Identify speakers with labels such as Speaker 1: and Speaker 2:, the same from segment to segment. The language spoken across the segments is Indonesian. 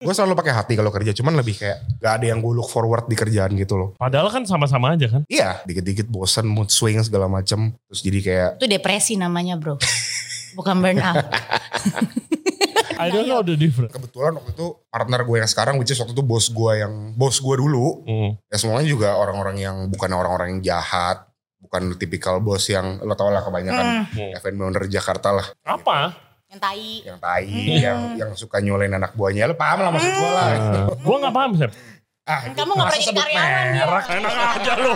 Speaker 1: Gue selalu pakai hati kalau kerja, cuman lebih kayak gak ada yang gue look forward di kerjaan gitu loh.
Speaker 2: Padahal kan sama-sama aja kan.
Speaker 1: Iya, dikit-dikit bosen, mood swing segala macem. Terus jadi kayak
Speaker 3: Itu depresi namanya bro. Bukan burnout.
Speaker 2: I don't know the difference.
Speaker 1: kebetulan waktu itu partner gue yang sekarang, which is waktu itu bos gue yang bos gue dulu.
Speaker 2: Hmm.
Speaker 1: Ya semuanya juga orang-orang yang bukan orang-orang yang jahat, bukan tipikal bos yang lo tau lah kebanyakan
Speaker 2: Hmm.
Speaker 1: event owner Jakarta lah
Speaker 2: Apa?
Speaker 3: Yang tai.
Speaker 1: yang tai,
Speaker 3: Hmm.
Speaker 1: yang yang suka nyolain anak buahnya. Lo paham lah maksud gue lah.
Speaker 2: Gue gak paham Sep.
Speaker 1: Ah,
Speaker 3: Hmm. Kamu gak pernah
Speaker 1: masa
Speaker 3: jadi
Speaker 1: sebut
Speaker 3: karyawan ya.
Speaker 1: merek?
Speaker 2: Enak aja lo.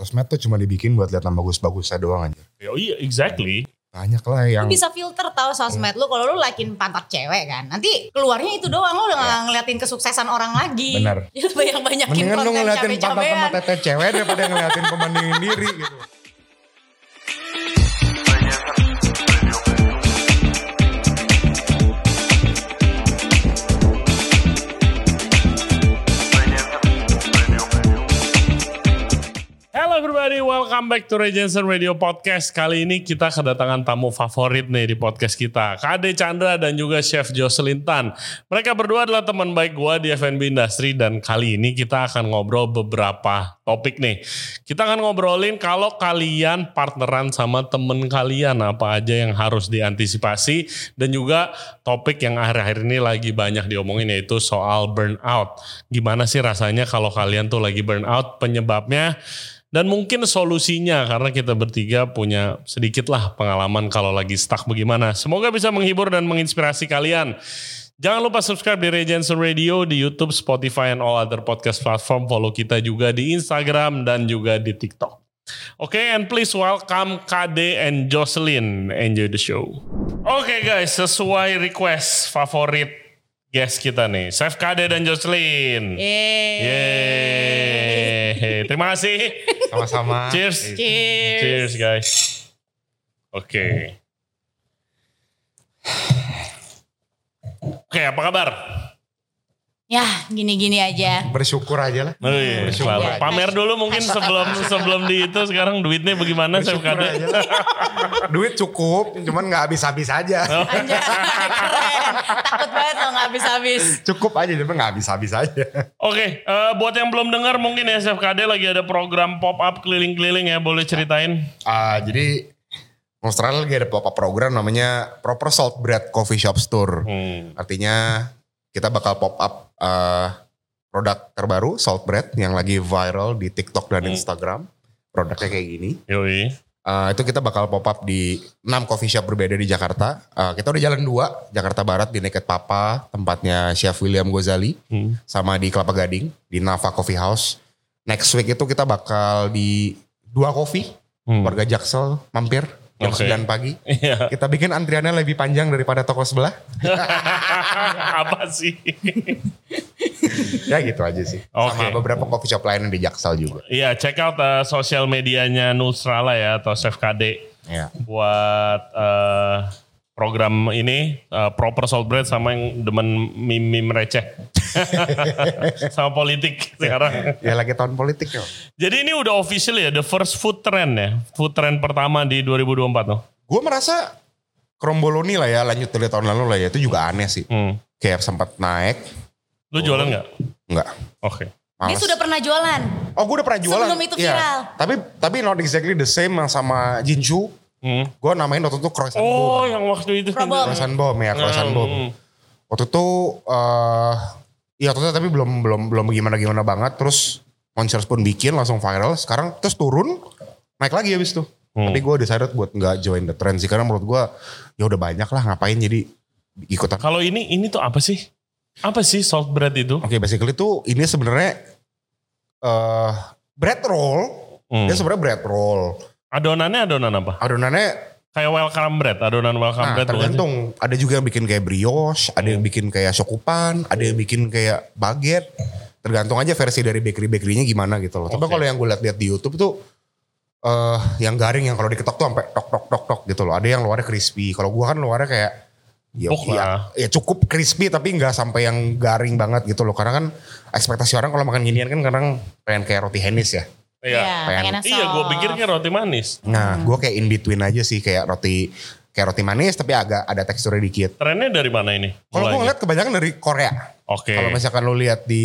Speaker 1: Sosmed tuh cuma dibikin buat lihat nama bagus-bagusnya doang aja.
Speaker 2: Oh iya exactly.
Speaker 1: Banyak lah yang
Speaker 3: Lu bisa filter tau sosmed lu kalau lu lakin pantat cewek kan. Nanti keluarnya itu doang lu udah nggak ngeliatin kesuksesan orang lagi.
Speaker 1: Iya. Benar.
Speaker 3: Ya lu banyak-banyakin
Speaker 1: Mendingan lu
Speaker 3: konten
Speaker 1: ngeliatin pantat sama
Speaker 3: cabe-cabean.
Speaker 1: tete cewek daripada ngeliatin pemandingin diri gitu.
Speaker 2: Hello everybody, welcome back to Regensen Radio Podcast. Kali ini kita kedatangan tamu favorit nih di podcast kita. Kade Chandra dan juga Chef Jocelyn Tan. Mereka berdua adalah teman baik gua di F&B Industry dan kali ini kita akan ngobrol beberapa topik nih. Kita akan ngobrolin kalau kalian partneran sama temen kalian apa aja yang harus diantisipasi dan juga topik yang akhir-akhir ini lagi banyak diomongin yaitu soal burnout. Gimana sih rasanya kalau kalian tuh lagi burnout, penyebabnya dan mungkin solusinya karena kita bertiga punya sedikit lah pengalaman kalau lagi stuck bagaimana. Semoga bisa menghibur dan menginspirasi kalian. Jangan lupa subscribe di Regency Radio di YouTube, Spotify, and all other podcast platform. Follow kita juga di Instagram dan juga di TikTok. Oke, and please welcome KD and Jocelyn. Enjoy the show. Oke guys, sesuai request favorit guest kita nih, Chef KD dan Jocelyn.
Speaker 3: Yeay.
Speaker 2: Yeay. Terima kasih.
Speaker 1: Sama-sama.
Speaker 2: Cheers.
Speaker 3: Cheers.
Speaker 2: Cheers guys. Oke. Oke, apa kabar?
Speaker 3: Ya gini-gini aja.
Speaker 1: Bersyukur aja lah.
Speaker 2: Oh, iya,
Speaker 1: Bersyukur
Speaker 2: selalu.
Speaker 1: aja.
Speaker 2: Pamer dulu mungkin sebelum sebelum di itu sekarang duitnya bagaimana Chef
Speaker 1: Bersyukur
Speaker 2: KD?
Speaker 1: aja lah. Duit cukup, cuman nggak habis-habis aja.
Speaker 3: Anjay, keren. Takut banget lo gak habis-habis.
Speaker 1: Cukup aja, cuman nggak habis-habis aja.
Speaker 2: Oke, eh, buat yang belum dengar mungkin ya Chef KD lagi ada program pop up keliling-keliling ya, boleh ceritain?
Speaker 1: Ah, jadi Australia lagi ada pop-up program namanya Proper Salt Bread Coffee Shop Store.
Speaker 2: Hmm.
Speaker 1: Artinya kita bakal pop up eh, produk terbaru Salt Bread yang lagi viral di TikTok dan
Speaker 2: Hmm.
Speaker 1: Instagram. Produknya kayak gini.
Speaker 2: Yoi.
Speaker 1: Eh, itu kita bakal pop up di 6 coffee shop berbeda di Jakarta. Eh, kita udah jalan dua, Jakarta Barat di Naked Papa, tempatnya Chef William Gozali,
Speaker 2: Hmm.
Speaker 1: sama di Kelapa Gading, di Nava Coffee House. Next week itu kita bakal di dua coffee,
Speaker 2: Hmm.
Speaker 1: warga Jaksel mampir jam
Speaker 2: Oke.
Speaker 1: 9 pagi.
Speaker 2: Iya.
Speaker 1: Kita bikin antriannya lebih panjang daripada toko sebelah.
Speaker 2: apa sih?
Speaker 1: ya gitu aja sih. Sama
Speaker 2: Oke.
Speaker 1: beberapa coffee shop lain di Jaksel juga.
Speaker 2: Iya, check out eh, sosial medianya Nusrala ya atau Chef KD
Speaker 1: Ya.
Speaker 2: buat eh, program ini eh, proper salt bread sama yang demen mimim receh sama politik sekarang.
Speaker 1: Ya lagi tahun politik ya.
Speaker 2: Jadi ini udah official ya the first food trend ya. Food trend pertama di 2024 tuh.
Speaker 1: Gue merasa Kromboloni lah ya, lanjut dari tahun lalu lah ya. Itu juga aneh sih.
Speaker 2: Hmm.
Speaker 1: Kayak sempat naik,
Speaker 2: Lu jualan nggak?
Speaker 1: Enggak.
Speaker 2: Oke.
Speaker 3: Dia
Speaker 1: Males.
Speaker 3: sudah pernah jualan.
Speaker 1: oh, gue udah pernah jualan.
Speaker 3: Sebelum itu
Speaker 1: Iya.
Speaker 3: viral.
Speaker 1: Tapi tapi not exactly the same yang sama Jinju.
Speaker 2: Hmm.
Speaker 1: Gue namain waktu itu croissant bomb.
Speaker 2: Oh, yang waktu itu.
Speaker 3: Probom.
Speaker 1: Croissant bomb ya, croissant bomb.
Speaker 2: Hmm.
Speaker 1: Waktu itu eh ya waktu itu tapi belum belum belum gimana gimana banget. Terus Monsters pun bikin langsung viral. Sekarang terus turun naik lagi habis tuh.
Speaker 2: Hmm.
Speaker 1: Tapi gue decided buat nggak join the trend sih karena menurut gue ya udah banyak lah ngapain jadi ikutan.
Speaker 2: Kalau ini ini tuh apa sih? Apa sih salt bread itu?
Speaker 1: Oke, basically tuh ini sebenarnya eh bread roll.
Speaker 2: Hmm.
Speaker 1: Dia sebenarnya bread roll.
Speaker 2: Adonannya adonan apa?
Speaker 1: Adonannya
Speaker 2: Kayak welcome bread, adonan welcome
Speaker 1: Nah,
Speaker 2: Ah, bread. bukan sih?
Speaker 1: tergantung. Ada juga yang bikin kayak brioche, ada yang bikin kayak sokupan, ada yang bikin kayak baguette. Tergantung aja versi dari bakery-bakerynya gimana gitu loh. Tapi
Speaker 2: Oke.
Speaker 1: kalau yang gue lihat-lihat di YouTube tuh eh yang garing yang kalau diketok tuh sampai tok tok tok tok gitu loh. Ada yang luarnya crispy. Kalau gua kan luarnya kayak ya,
Speaker 2: Empuk
Speaker 1: ya,
Speaker 2: Oh, lah.
Speaker 1: ya cukup crispy tapi nggak sampai yang garing banget gitu loh. Karena kan ekspektasi orang kalau makan ginian kan kadang pengen kayak roti henis ya.
Speaker 2: Iya.
Speaker 1: pengen.
Speaker 3: pengennya
Speaker 2: Iya, gue
Speaker 3: soft.
Speaker 2: pikir kayak roti manis.
Speaker 1: Nah, gue kayak in between aja sih kayak roti kayak roti manis tapi agak ada teksturnya dikit.
Speaker 2: Trennya dari mana ini?
Speaker 1: Kalau gue
Speaker 2: Mulainya?
Speaker 1: ngeliat kebanyakan dari Korea.
Speaker 2: ya? Oke.
Speaker 1: Kalau misalkan lo lihat di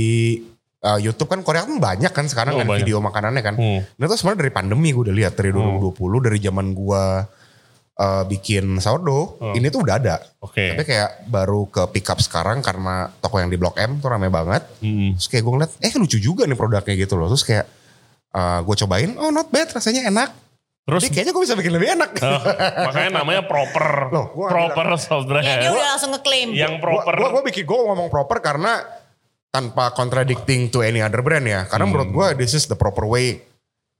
Speaker 1: uh, YouTube kan Korea kan banyak kan sekarang
Speaker 2: Oh,
Speaker 1: kan
Speaker 2: banyak.
Speaker 1: video makanannya kan.
Speaker 2: Hmm.
Speaker 1: Nah itu sebenarnya dari pandemi gue udah lihat dari 2020 dari zaman gue uh, bikin sourdough
Speaker 2: Hmm.
Speaker 1: ini tuh udah ada.
Speaker 2: Oke.
Speaker 1: Tapi kayak baru ke pick up sekarang karena toko yang di Blok M tuh rame banget.
Speaker 2: Hmm.
Speaker 1: Terus kayak gue ngeliat, eh lucu juga nih produknya gitu loh. Terus kayak gue cobain, oh not bad rasanya enak.
Speaker 2: Terus
Speaker 1: Jadi kayaknya gue bisa bikin lebih enak.
Speaker 2: eh, makanya namanya proper.
Speaker 1: Loh, gua
Speaker 2: proper soft bread.
Speaker 3: Ya, dia udah langsung ngeklaim.
Speaker 2: Yang proper.
Speaker 1: Gue gue bikin gue ngomong proper karena tanpa contradicting to any other brand ya.
Speaker 2: Hmm.
Speaker 1: Karena menurut gue this is the proper way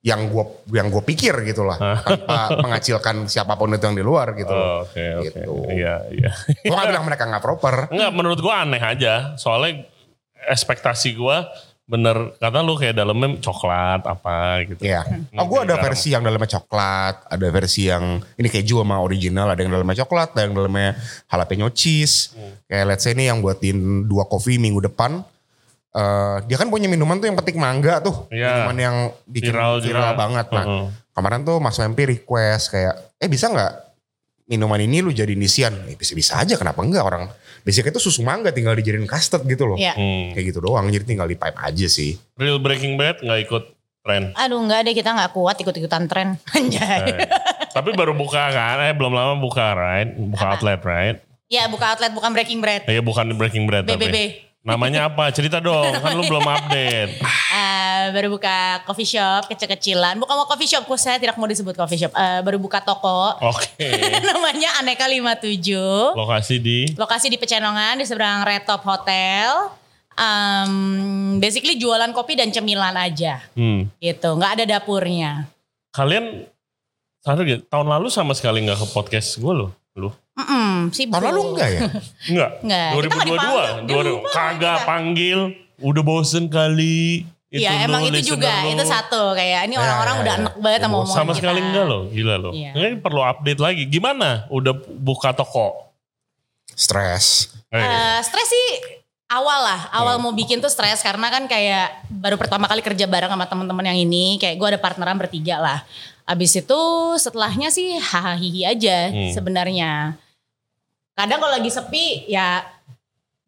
Speaker 1: yang gue yang gue pikir gitu lah tanpa mengacilkan siapapun itu yang di luar gitu. loh.
Speaker 2: Oh, Oke, oke.
Speaker 1: Gitu.
Speaker 2: Iya, iya.
Speaker 1: Gue gak bilang mereka gak proper.
Speaker 2: Enggak, menurut gua aneh aja. Soalnya ekspektasi gua bener kata lu kayak dalamnya coklat apa gitu.
Speaker 1: Iya. Oh gue ada versi yang dalamnya coklat, ada versi yang ini keju sama original, ada yang dalamnya coklat, ada yang dalamnya jalapeno cheese.
Speaker 2: Hmm.
Speaker 1: Kayak let's say ini yang buatin dua kopi minggu depan. Eh, dia kan punya minuman tuh yang petik mangga tuh.
Speaker 2: Iya.
Speaker 1: Minuman yang bikin viral,
Speaker 2: Viral juga. Hmm.
Speaker 1: banget. Nah
Speaker 2: Heeh.
Speaker 1: kemarin tuh Mas MP request kayak, eh bisa nggak minuman ini lu jadi isian? Eh, bisa-bisa aja kenapa enggak orang. Biasanya itu susu mangga tinggal dijadiin custard gitu loh.
Speaker 3: Iya.
Speaker 2: Hmm.
Speaker 1: Kayak gitu doang jadi tinggal di pipe aja sih.
Speaker 2: Real Breaking Bad nggak ikut tren.
Speaker 3: Aduh enggak deh kita nggak kuat ikut-ikutan tren. Anjay.
Speaker 2: Eh, Tapi baru buka kan, eh belum lama buka right, buka outlet right.
Speaker 3: Ya buka outlet bukan breaking bread.
Speaker 2: Eh bukan Breaking Bad tapi.
Speaker 3: BBB.
Speaker 2: Namanya apa? Cerita dong, kan lu belum update.
Speaker 3: Eh, baru buka coffee shop kecil-kecilan. Bukan mau coffee shop, kok saya tidak mau disebut coffee shop. Eh, baru buka toko.
Speaker 2: Oke.
Speaker 3: Namanya Aneka 57.
Speaker 2: Lokasi di
Speaker 3: Lokasi di Pecenongan di seberang Red Top Hotel. Em, basically jualan kopi dan cemilan aja
Speaker 2: hmm.
Speaker 3: gitu. nggak ada dapurnya.
Speaker 2: Kalian sadar gak? Tahun lalu sama sekali nggak ke podcast gue loh. Lu?
Speaker 3: Mm-mm, sibuk.
Speaker 1: Tahun lalu enggak ya?
Speaker 2: Enggak.
Speaker 3: Nggak, kita nggak dipanggil.
Speaker 2: 2022.
Speaker 3: Dia
Speaker 2: Dua,
Speaker 3: lupa
Speaker 2: kagak
Speaker 3: kita.
Speaker 2: panggil. Udah bosen kali.
Speaker 3: Iya
Speaker 2: lu,
Speaker 3: emang itu
Speaker 2: listener
Speaker 3: juga
Speaker 2: lu.
Speaker 3: itu satu kayak ini
Speaker 1: Ya,
Speaker 3: orang-orang
Speaker 1: ya,
Speaker 3: udah
Speaker 1: ya.
Speaker 3: enek banget sama omongan
Speaker 2: Sama
Speaker 3: kita.
Speaker 2: sekali enggak loh. Gila loh.
Speaker 3: Iya.
Speaker 2: Ini perlu update lagi. Gimana? Udah buka toko.
Speaker 1: Stres.
Speaker 2: Eh, Hmm.
Speaker 3: Eh, stres sih awal lah, awal mau bikin tuh stres karena kan kayak baru pertama kali kerja bareng sama teman-teman yang ini, kayak gue ada partneran bertiga lah. Abis itu setelahnya sih hahaha hihi aja
Speaker 2: Hmm.
Speaker 3: sebenarnya. Kadang kalau lagi sepi ya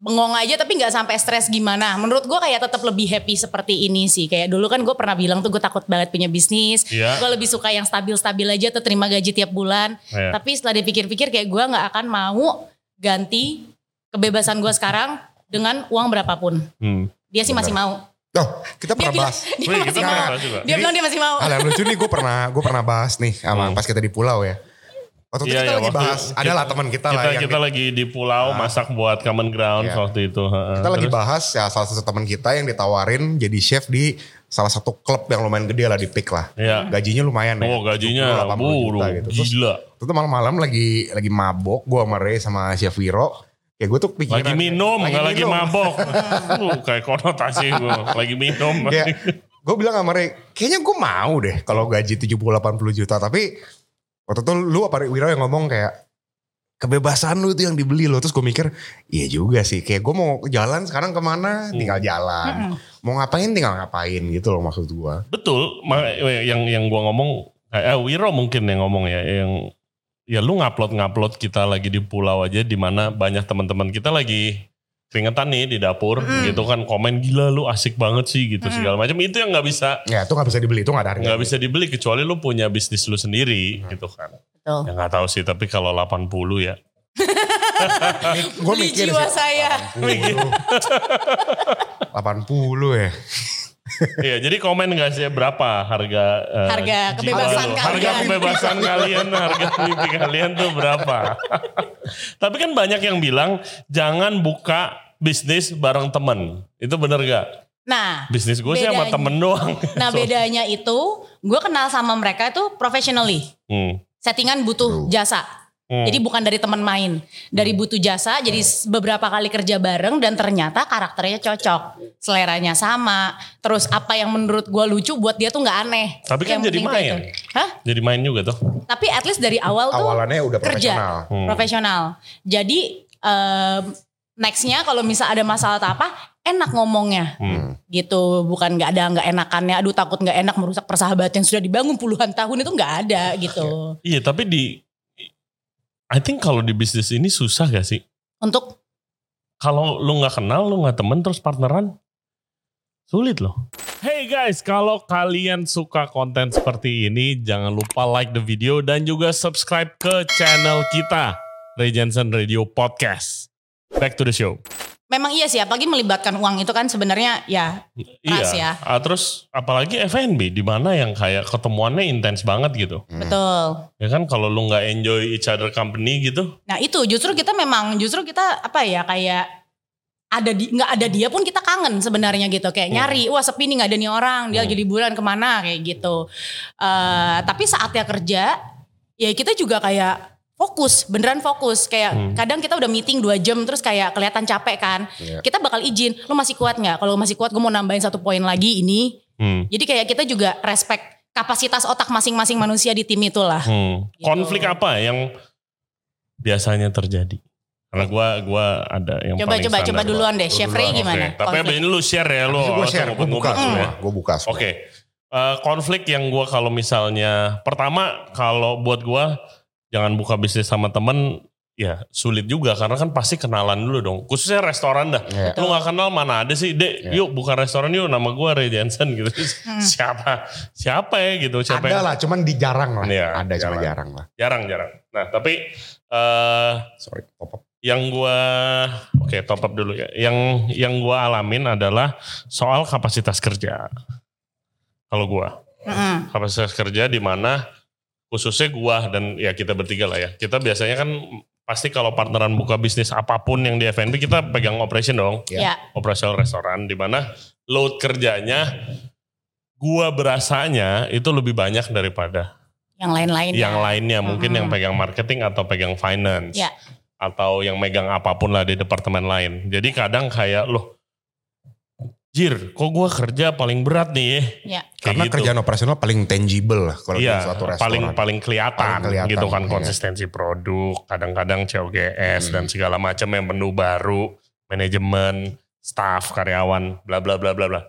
Speaker 3: bengong aja tapi nggak sampai stres gimana. Menurut gue kayak tetap lebih happy seperti ini sih. Kayak dulu kan gue pernah bilang tuh gue takut banget punya bisnis.
Speaker 2: Iya.
Speaker 3: Gue lebih suka yang stabil-stabil aja tuh terima gaji tiap bulan.
Speaker 2: Iya.
Speaker 3: Tapi setelah dipikir-pikir kayak gue nggak akan mau ganti kebebasan gue sekarang dengan uang berapapun.
Speaker 2: hmm.
Speaker 3: Dia sih masih mau.
Speaker 1: Oh, kita
Speaker 3: Dia
Speaker 1: pernah
Speaker 3: bilang,
Speaker 1: bahas.
Speaker 3: dia
Speaker 2: Wih, gitu kan? Iya.
Speaker 3: masih
Speaker 2: kita
Speaker 3: mau.
Speaker 2: pernah bahas juga.
Speaker 3: Iya, Dia bilang dia masih mau.
Speaker 1: Hal yang lucu nih gue pernah gue pernah bahas nih sama
Speaker 2: Hmm.
Speaker 1: pas kita di pulau ya. Waktu itu
Speaker 2: Iya,
Speaker 1: kita
Speaker 2: iya,
Speaker 1: lagi
Speaker 2: waktu
Speaker 1: bahas,
Speaker 2: kita-
Speaker 1: adalah teman kita,
Speaker 2: Kita
Speaker 1: lah yang
Speaker 2: kita
Speaker 1: kita,
Speaker 2: lagi di pulau masak buat common ground
Speaker 1: Iya.
Speaker 2: waktu itu. Heeh.
Speaker 1: lagi
Speaker 2: Terus-
Speaker 1: bahas ya salah satu teman kita yang ditawarin jadi chef di salah satu klub yang lumayan gede lah di Pik lah.
Speaker 2: Iya.
Speaker 1: Gajinya lumayan ya.
Speaker 2: Oh gajinya
Speaker 1: 70-80
Speaker 2: buru,
Speaker 1: juta gitu. Terus
Speaker 2: gila.
Speaker 1: waktu itu malam-malam lagi lagi mabok gue sama Ray sama Chef Wiro. Ya gue tuh pikiran
Speaker 2: Lagi minum, nggak lagi
Speaker 1: minum.
Speaker 2: mabok. Lu kayak konotasi gue, lagi minum.
Speaker 1: Kayak gue bilang sama Ray, kayaknya gue mau deh kalau gaji 70-80 juta. Tapi waktu itu lu apa Wiro yang ngomong kayak kebebasan lu itu yang dibeli lo. Terus gue mikir, iya juga sih. Kayak gue mau jalan sekarang kemana,
Speaker 2: Hmm.
Speaker 1: tinggal jalan.
Speaker 3: Hmm.
Speaker 1: Mau ngapain tinggal ngapain gitu loh maksud gue.
Speaker 2: Betul, ma- eh, yang yang gua ngomong, eh, eh, Wiro mungkin yang ngomong ya, yang ya lu ngupload ngupload kita lagi di pulau aja, di mana banyak teman-teman kita lagi keringetan nih di dapur, gitu kan komen gila lu asik banget sih gitu segala macam. Itu yang nggak bisa
Speaker 1: Ya itu gak bisa dibeli, itu gak ada harga.
Speaker 2: nggak bisa dibeli kecuali lu punya bisnis lu sendiri gitu kan.
Speaker 3: Betul.
Speaker 2: Ya nggak tahu sih, tapi kalau 80 ya
Speaker 1: Gue
Speaker 3: Beli jiwa saya.
Speaker 1: 80 ya.
Speaker 2: Iya, jadi komen gak sih berapa harga eh,
Speaker 3: Harga
Speaker 2: jiwa lo?
Speaker 3: kebebasan kalian.
Speaker 2: Harga kebebasan kalian, harga mimpi kalian tuh berapa? Tapi kan banyak yang bilang jangan buka bisnis bareng temen. Itu bener gak?
Speaker 3: Nah,
Speaker 2: Bisnis gue sih sama
Speaker 3: Bedanya.
Speaker 2: temen doang.
Speaker 3: nah
Speaker 2: So-
Speaker 3: bedanya itu gue kenal sama mereka itu professionally.
Speaker 2: Hmm.
Speaker 3: Settingan butuh jasa.
Speaker 2: Hmm.
Speaker 3: Jadi bukan dari teman main, dari butuh jasa. Jadi s- beberapa kali kerja bareng dan ternyata karakternya cocok, seleranya sama. Terus apa yang menurut gue lucu buat dia tuh nggak aneh.
Speaker 2: Tapi kan
Speaker 3: Yang
Speaker 2: jadi
Speaker 3: penting gitu. tuh
Speaker 2: main.
Speaker 3: itu. Hah?
Speaker 2: Jadi main juga tuh.
Speaker 3: Tapi at least dari awal tuh
Speaker 1: Awalannya udah
Speaker 3: kerja
Speaker 1: profesional.
Speaker 2: Hmm.
Speaker 3: profesional. Jadi em, nextnya kalau misal ada masalah atau apa enak ngomongnya
Speaker 2: Hmm.
Speaker 3: gitu bukan nggak ada nggak enakannya aduh takut nggak enak merusak persahabatan yang sudah dibangun puluhan tahun itu nggak ada gitu
Speaker 2: Iya, tapi di Iya, I think kalau di bisnis ini susah gak sih?
Speaker 3: Untuk
Speaker 2: kalau lu nggak kenal, lu nggak temen terus partneran, sulit loh. Hey guys, kalau kalian suka konten seperti ini, jangan lupa like the video dan juga subscribe ke channel kita, Ray Jensen Radio Podcast. Back to the show.
Speaker 3: memang iya sih apalagi melibatkan uang itu kan sebenarnya ya Keras ya.
Speaker 2: Ah, terus apalagi F&B di mana yang kayak ketemuannya intens banget gitu.
Speaker 3: betul.
Speaker 2: Ya kan kalau lu nggak enjoy each other company gitu,
Speaker 3: Nah itu justru kita memang justru kita apa ya kayak ada di nggak ada dia pun kita kangen sebenarnya gitu kayak
Speaker 2: Hmm.
Speaker 3: nyari wah sepi nih nggak ada nih orang
Speaker 2: Iya.
Speaker 3: dia lagi liburan kemana kayak gitu. Eh tapi saatnya kerja ya kita juga kayak fokus beneran fokus kayak
Speaker 2: Hmm.
Speaker 3: kadang kita udah meeting dua jam terus kayak kelihatan capek kan
Speaker 1: Iya.
Speaker 3: kita bakal izin lo masih kuat nggak kalau masih kuat gue mau nambahin satu poin lagi ini
Speaker 2: hmm,
Speaker 3: jadi kayak kita juga respect kapasitas otak masing-masing manusia di tim itulah
Speaker 2: hmm.
Speaker 3: Gitu.
Speaker 2: konflik apa yang biasanya terjadi? Karena gua gua ada yang
Speaker 3: Coba,
Speaker 2: paling
Speaker 3: coba,
Speaker 2: standar
Speaker 3: coba
Speaker 2: gua.
Speaker 3: duluan deh.
Speaker 2: Lu
Speaker 3: Chef Ray
Speaker 2: duluan,
Speaker 3: gimana?
Speaker 2: oke. Tapi
Speaker 3: Konflik.
Speaker 2: abis ini lu share ya lu.
Speaker 1: gue
Speaker 2: awalnya
Speaker 1: share, gue
Speaker 2: ngomong-ngomong
Speaker 1: buka
Speaker 2: semua.
Speaker 1: semua, gue buka semua.
Speaker 2: ya. Oke. Eh, konflik yang gua kalau misalnya pertama kalau buat gua jangan buka bisnis sama temen ya sulit juga karena kan pasti kenalan dulu dong khususnya restoran dah
Speaker 1: Iya.
Speaker 2: lu nggak kenal mana ada sih dek
Speaker 1: Iya.
Speaker 2: yuk buka restoran yuk nama gua Ray Jensen gitu
Speaker 3: Hmm.
Speaker 2: siapa siapa ya gitu
Speaker 1: Ada
Speaker 2: siapa yang-
Speaker 1: lah, cuman di jarang lah.
Speaker 2: Iya,
Speaker 1: ada cuma
Speaker 2: jarang.
Speaker 1: jarang lah.
Speaker 2: jarang jarang nah tapi eh
Speaker 1: Sorry, top up.
Speaker 2: yang gua oke top up dulu ya. Yang yang gua alamin adalah soal kapasitas kerja. Kalau gua
Speaker 3: Mm-mm.
Speaker 2: kapasitas kerja di mana khususnya gua dan ya kita bertiga lah ya. Kita biasanya kan pasti kalau partneran buka bisnis apapun yang di F&B kita pegang operation dong,
Speaker 3: ya
Speaker 2: operasional restoran di mana load kerjanya gua berasanya itu lebih banyak daripada
Speaker 3: yang lain-lain
Speaker 2: yang
Speaker 3: ya.
Speaker 2: lainnya mungkin
Speaker 3: Mhm.
Speaker 2: yang pegang marketing atau pegang finance
Speaker 3: Ya.
Speaker 2: atau yang megang apapun lah di departemen lain jadi kadang kayak loh jir kok gue kerja paling berat nih
Speaker 3: Ya.
Speaker 2: Kayak
Speaker 1: Karena
Speaker 2: gitu.
Speaker 1: kerjaan operasional paling tangible lah kalau
Speaker 2: Iya,
Speaker 1: di suatu restoran.
Speaker 2: paling paling kelihatan,
Speaker 1: Paling kelihatan,
Speaker 2: gitu kan
Speaker 1: iya.
Speaker 2: konsistensi produk kadang-kadang COGS
Speaker 1: Hmm.
Speaker 2: dan segala macam yang menu baru manajemen staff karyawan bla bla bla bla bla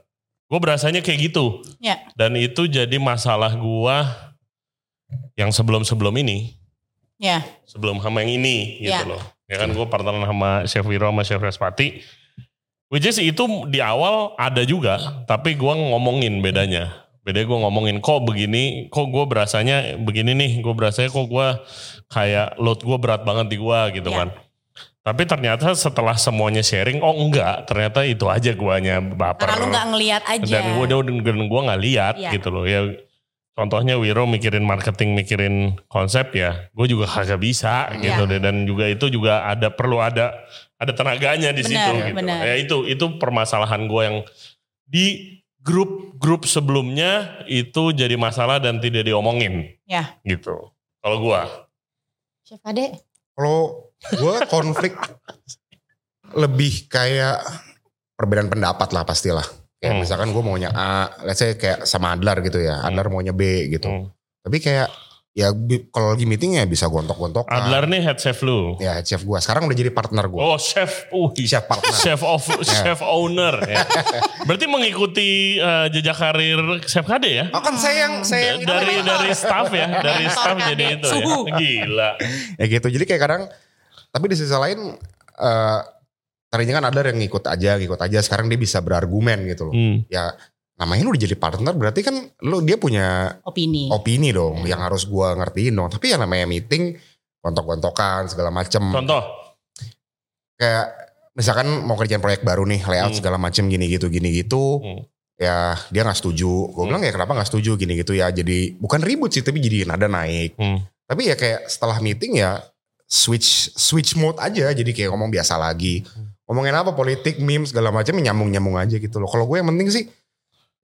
Speaker 2: gue berasanya kayak gitu
Speaker 3: Ya.
Speaker 2: dan itu jadi masalah gua yang sebelum-sebelum ini
Speaker 3: ya
Speaker 2: sebelum sama yang ini gitu
Speaker 3: Ya.
Speaker 2: loh. Ya kan gue partneran sama Chef Wiro sama Chef Respati. Which is itu di awal ada juga, tapi gua ngomongin bedanya. Bedanya gue ngomongin kok begini, kok gue berasanya begini nih, gue berasanya kok gua kayak load gue berat banget di gua gitu
Speaker 3: Ya.
Speaker 2: kan. Tapi ternyata setelah semuanya sharing, oh enggak, ternyata itu aja guanya baper
Speaker 3: karena lu nggak ngelihat aja
Speaker 2: dan gue dan gue nggak lihat
Speaker 3: Iya.
Speaker 2: gitu loh ya contohnya Wiro mikirin marketing mikirin konsep ya gue juga kagak bisa
Speaker 3: Iya.
Speaker 2: gitu deh dan juga itu juga ada perlu ada ada tenaganya di
Speaker 3: Benar,
Speaker 2: situ gitu
Speaker 3: benar.
Speaker 2: ya itu itu permasalahan gue yang di grup-grup sebelumnya itu jadi masalah dan tidak diomongin
Speaker 3: Iya.
Speaker 2: gitu kalau gue
Speaker 3: Chef Ade
Speaker 1: Kalau gue konflik lebih kayak perbedaan pendapat lah pastilah. Kayak
Speaker 2: Hmm.
Speaker 1: misalkan gue maunya A, let's say kayak sama Adlar gitu ya.
Speaker 2: Hmm.
Speaker 1: Adlar maunya B gitu. Tapi kayak ya bi- kalau lagi meeting ya bisa gontok-gontok.
Speaker 2: Adlar nih head chef lu
Speaker 1: Ya chef gue. Sekarang udah jadi partner gue.
Speaker 2: oh chef uh
Speaker 1: Chef partner.
Speaker 2: chef of chef owner ya. berarti mengikuti eh, jejak karir chef KD ya
Speaker 1: Oh kan saya yang saya yang
Speaker 3: Iya,
Speaker 2: dari dari staff ya, dari staff
Speaker 3: Mentor
Speaker 2: jadi itu
Speaker 3: KD. gitu. Iya. Suhu.
Speaker 2: ya. Gila.
Speaker 1: ya gitu jadi kayak kadang tapi di sisi lain eh tadinya kan ada yang ngikut aja ngikut aja sekarang dia bisa berargumen gitu loh
Speaker 2: Hmm.
Speaker 1: ya namanya lu udah jadi partner berarti kan lu dia punya
Speaker 3: opini
Speaker 1: opini dong yang harus gua ngertiin dong tapi ya namanya meeting kontok-kontokan segala macem
Speaker 2: Contoh,
Speaker 1: kayak misalkan mau kerjaan proyek baru nih layout
Speaker 2: Hmm.
Speaker 1: segala macem gini gitu gini gitu
Speaker 2: Hmm.
Speaker 1: ya dia nggak setuju gue
Speaker 2: Hmm.
Speaker 1: bilang ya kenapa nggak setuju gini gitu ya jadi bukan ribut sih tapi jadi nada naik
Speaker 2: hmm,
Speaker 1: tapi ya kayak setelah meeting ya switch switch mode aja jadi kayak ngomong biasa lagi ngomongin apa politik meme segala macam nyambung nyambung aja gitu loh kalau gue yang penting sih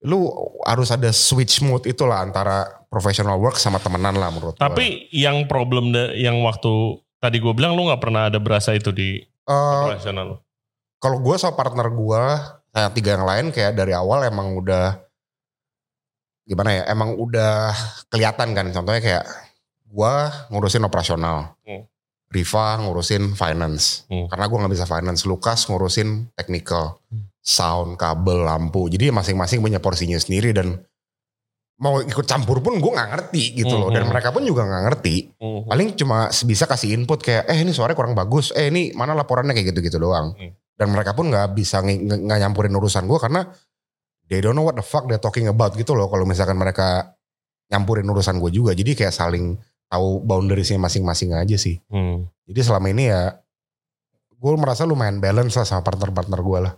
Speaker 1: lu harus ada switch mode itulah antara professional work sama temenan lah menurut gue.
Speaker 2: tapi yang problem da- yang waktu tadi gue bilang lu nggak pernah ada berasa itu di
Speaker 3: Oh.
Speaker 1: Eh,
Speaker 2: profesional lu.
Speaker 1: kalau gue sama partner gue saya tiga yang lain kayak dari awal emang udah gimana ya emang udah kelihatan kan contohnya kayak gue ngurusin operasional
Speaker 2: Hmm.
Speaker 1: Riva ngurusin finance
Speaker 2: Hmm.
Speaker 1: karena gue nggak bisa finance Lukas ngurusin technical
Speaker 2: Hmm.
Speaker 1: sound kabel lampu jadi masing-masing punya porsinya sendiri dan mau ikut campur pun gue nggak ngerti gitu loh dan
Speaker 2: Mhm.
Speaker 1: mereka pun juga nggak ngerti
Speaker 2: Mhm.
Speaker 1: paling cuma bisa kasih input kayak eh ini suaranya kurang bagus eh ini mana laporannya kayak gitu gitu doang
Speaker 2: Mhm.
Speaker 1: dan mereka pun nggak bisa nge- nge- nggak nyampurin urusan gue karena they don't know what the fuck they're talking about gitu loh kalau misalkan mereka nyampurin urusan gue juga jadi kayak saling tahu boundariesnya masing-masing aja sih
Speaker 2: Hmm.
Speaker 1: jadi selama ini ya gue merasa lumayan balance lah sama partner-partner gue lah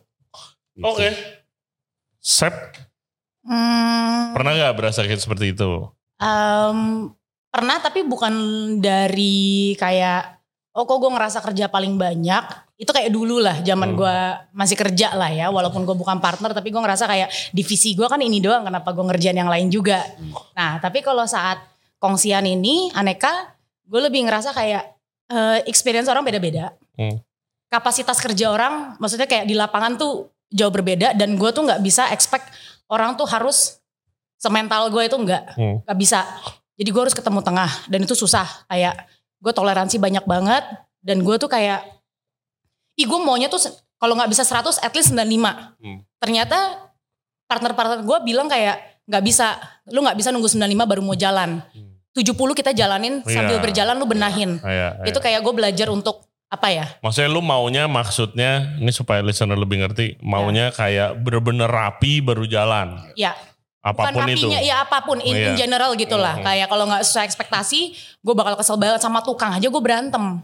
Speaker 1: Gitu.
Speaker 2: Oke. Sep,
Speaker 3: Hmm,
Speaker 2: pernah gak berasa kayak seperti itu?
Speaker 3: em, pernah tapi bukan dari kayak oh kok gue ngerasa kerja paling banyak itu kayak dulu lah zaman
Speaker 2: Hmm.
Speaker 3: gua gue masih kerja lah ya walaupun gue bukan partner tapi gue ngerasa kayak divisi gue kan ini doang kenapa gue ngerjain yang lain juga
Speaker 2: Hmm.
Speaker 3: nah tapi kalau saat kongsian ini aneka gue lebih ngerasa kayak eh, experience orang beda-beda
Speaker 2: Hmm.
Speaker 3: kapasitas kerja orang maksudnya kayak di lapangan tuh jauh berbeda dan gue tuh nggak bisa expect orang tuh harus semental gue itu nggak
Speaker 2: Hmm.
Speaker 3: nggak bisa. Jadi gue harus ketemu tengah dan itu susah. Kayak gue toleransi banyak banget dan gue tuh kayak, ih gue maunya tuh se- kalau nggak bisa 100 at least 95.
Speaker 2: Hmm.
Speaker 3: Ternyata partner-partner gue bilang kayak nggak bisa, lu nggak bisa nunggu 95 baru mau jalan.
Speaker 2: Hmm.
Speaker 3: 70 kita jalanin sambil
Speaker 2: Iya.
Speaker 3: berjalan lu benahin.
Speaker 2: Ah, ya, ah,
Speaker 3: Itu
Speaker 2: ya.
Speaker 3: kayak gue belajar untuk apa ya?
Speaker 2: Maksudnya lu maunya maksudnya ini supaya listener lebih ngerti,
Speaker 3: Iya.
Speaker 2: maunya kayak bener-bener rapi baru jalan.
Speaker 3: Ya,
Speaker 2: Apapun
Speaker 3: bukan
Speaker 2: itu.
Speaker 3: rapinya, ya apapun in,
Speaker 2: Iya.
Speaker 3: in general gitulah.
Speaker 2: Mhm.
Speaker 3: Kayak kalau nggak sesuai ekspektasi, gue bakal kesel banget sama tukang aja gue berantem.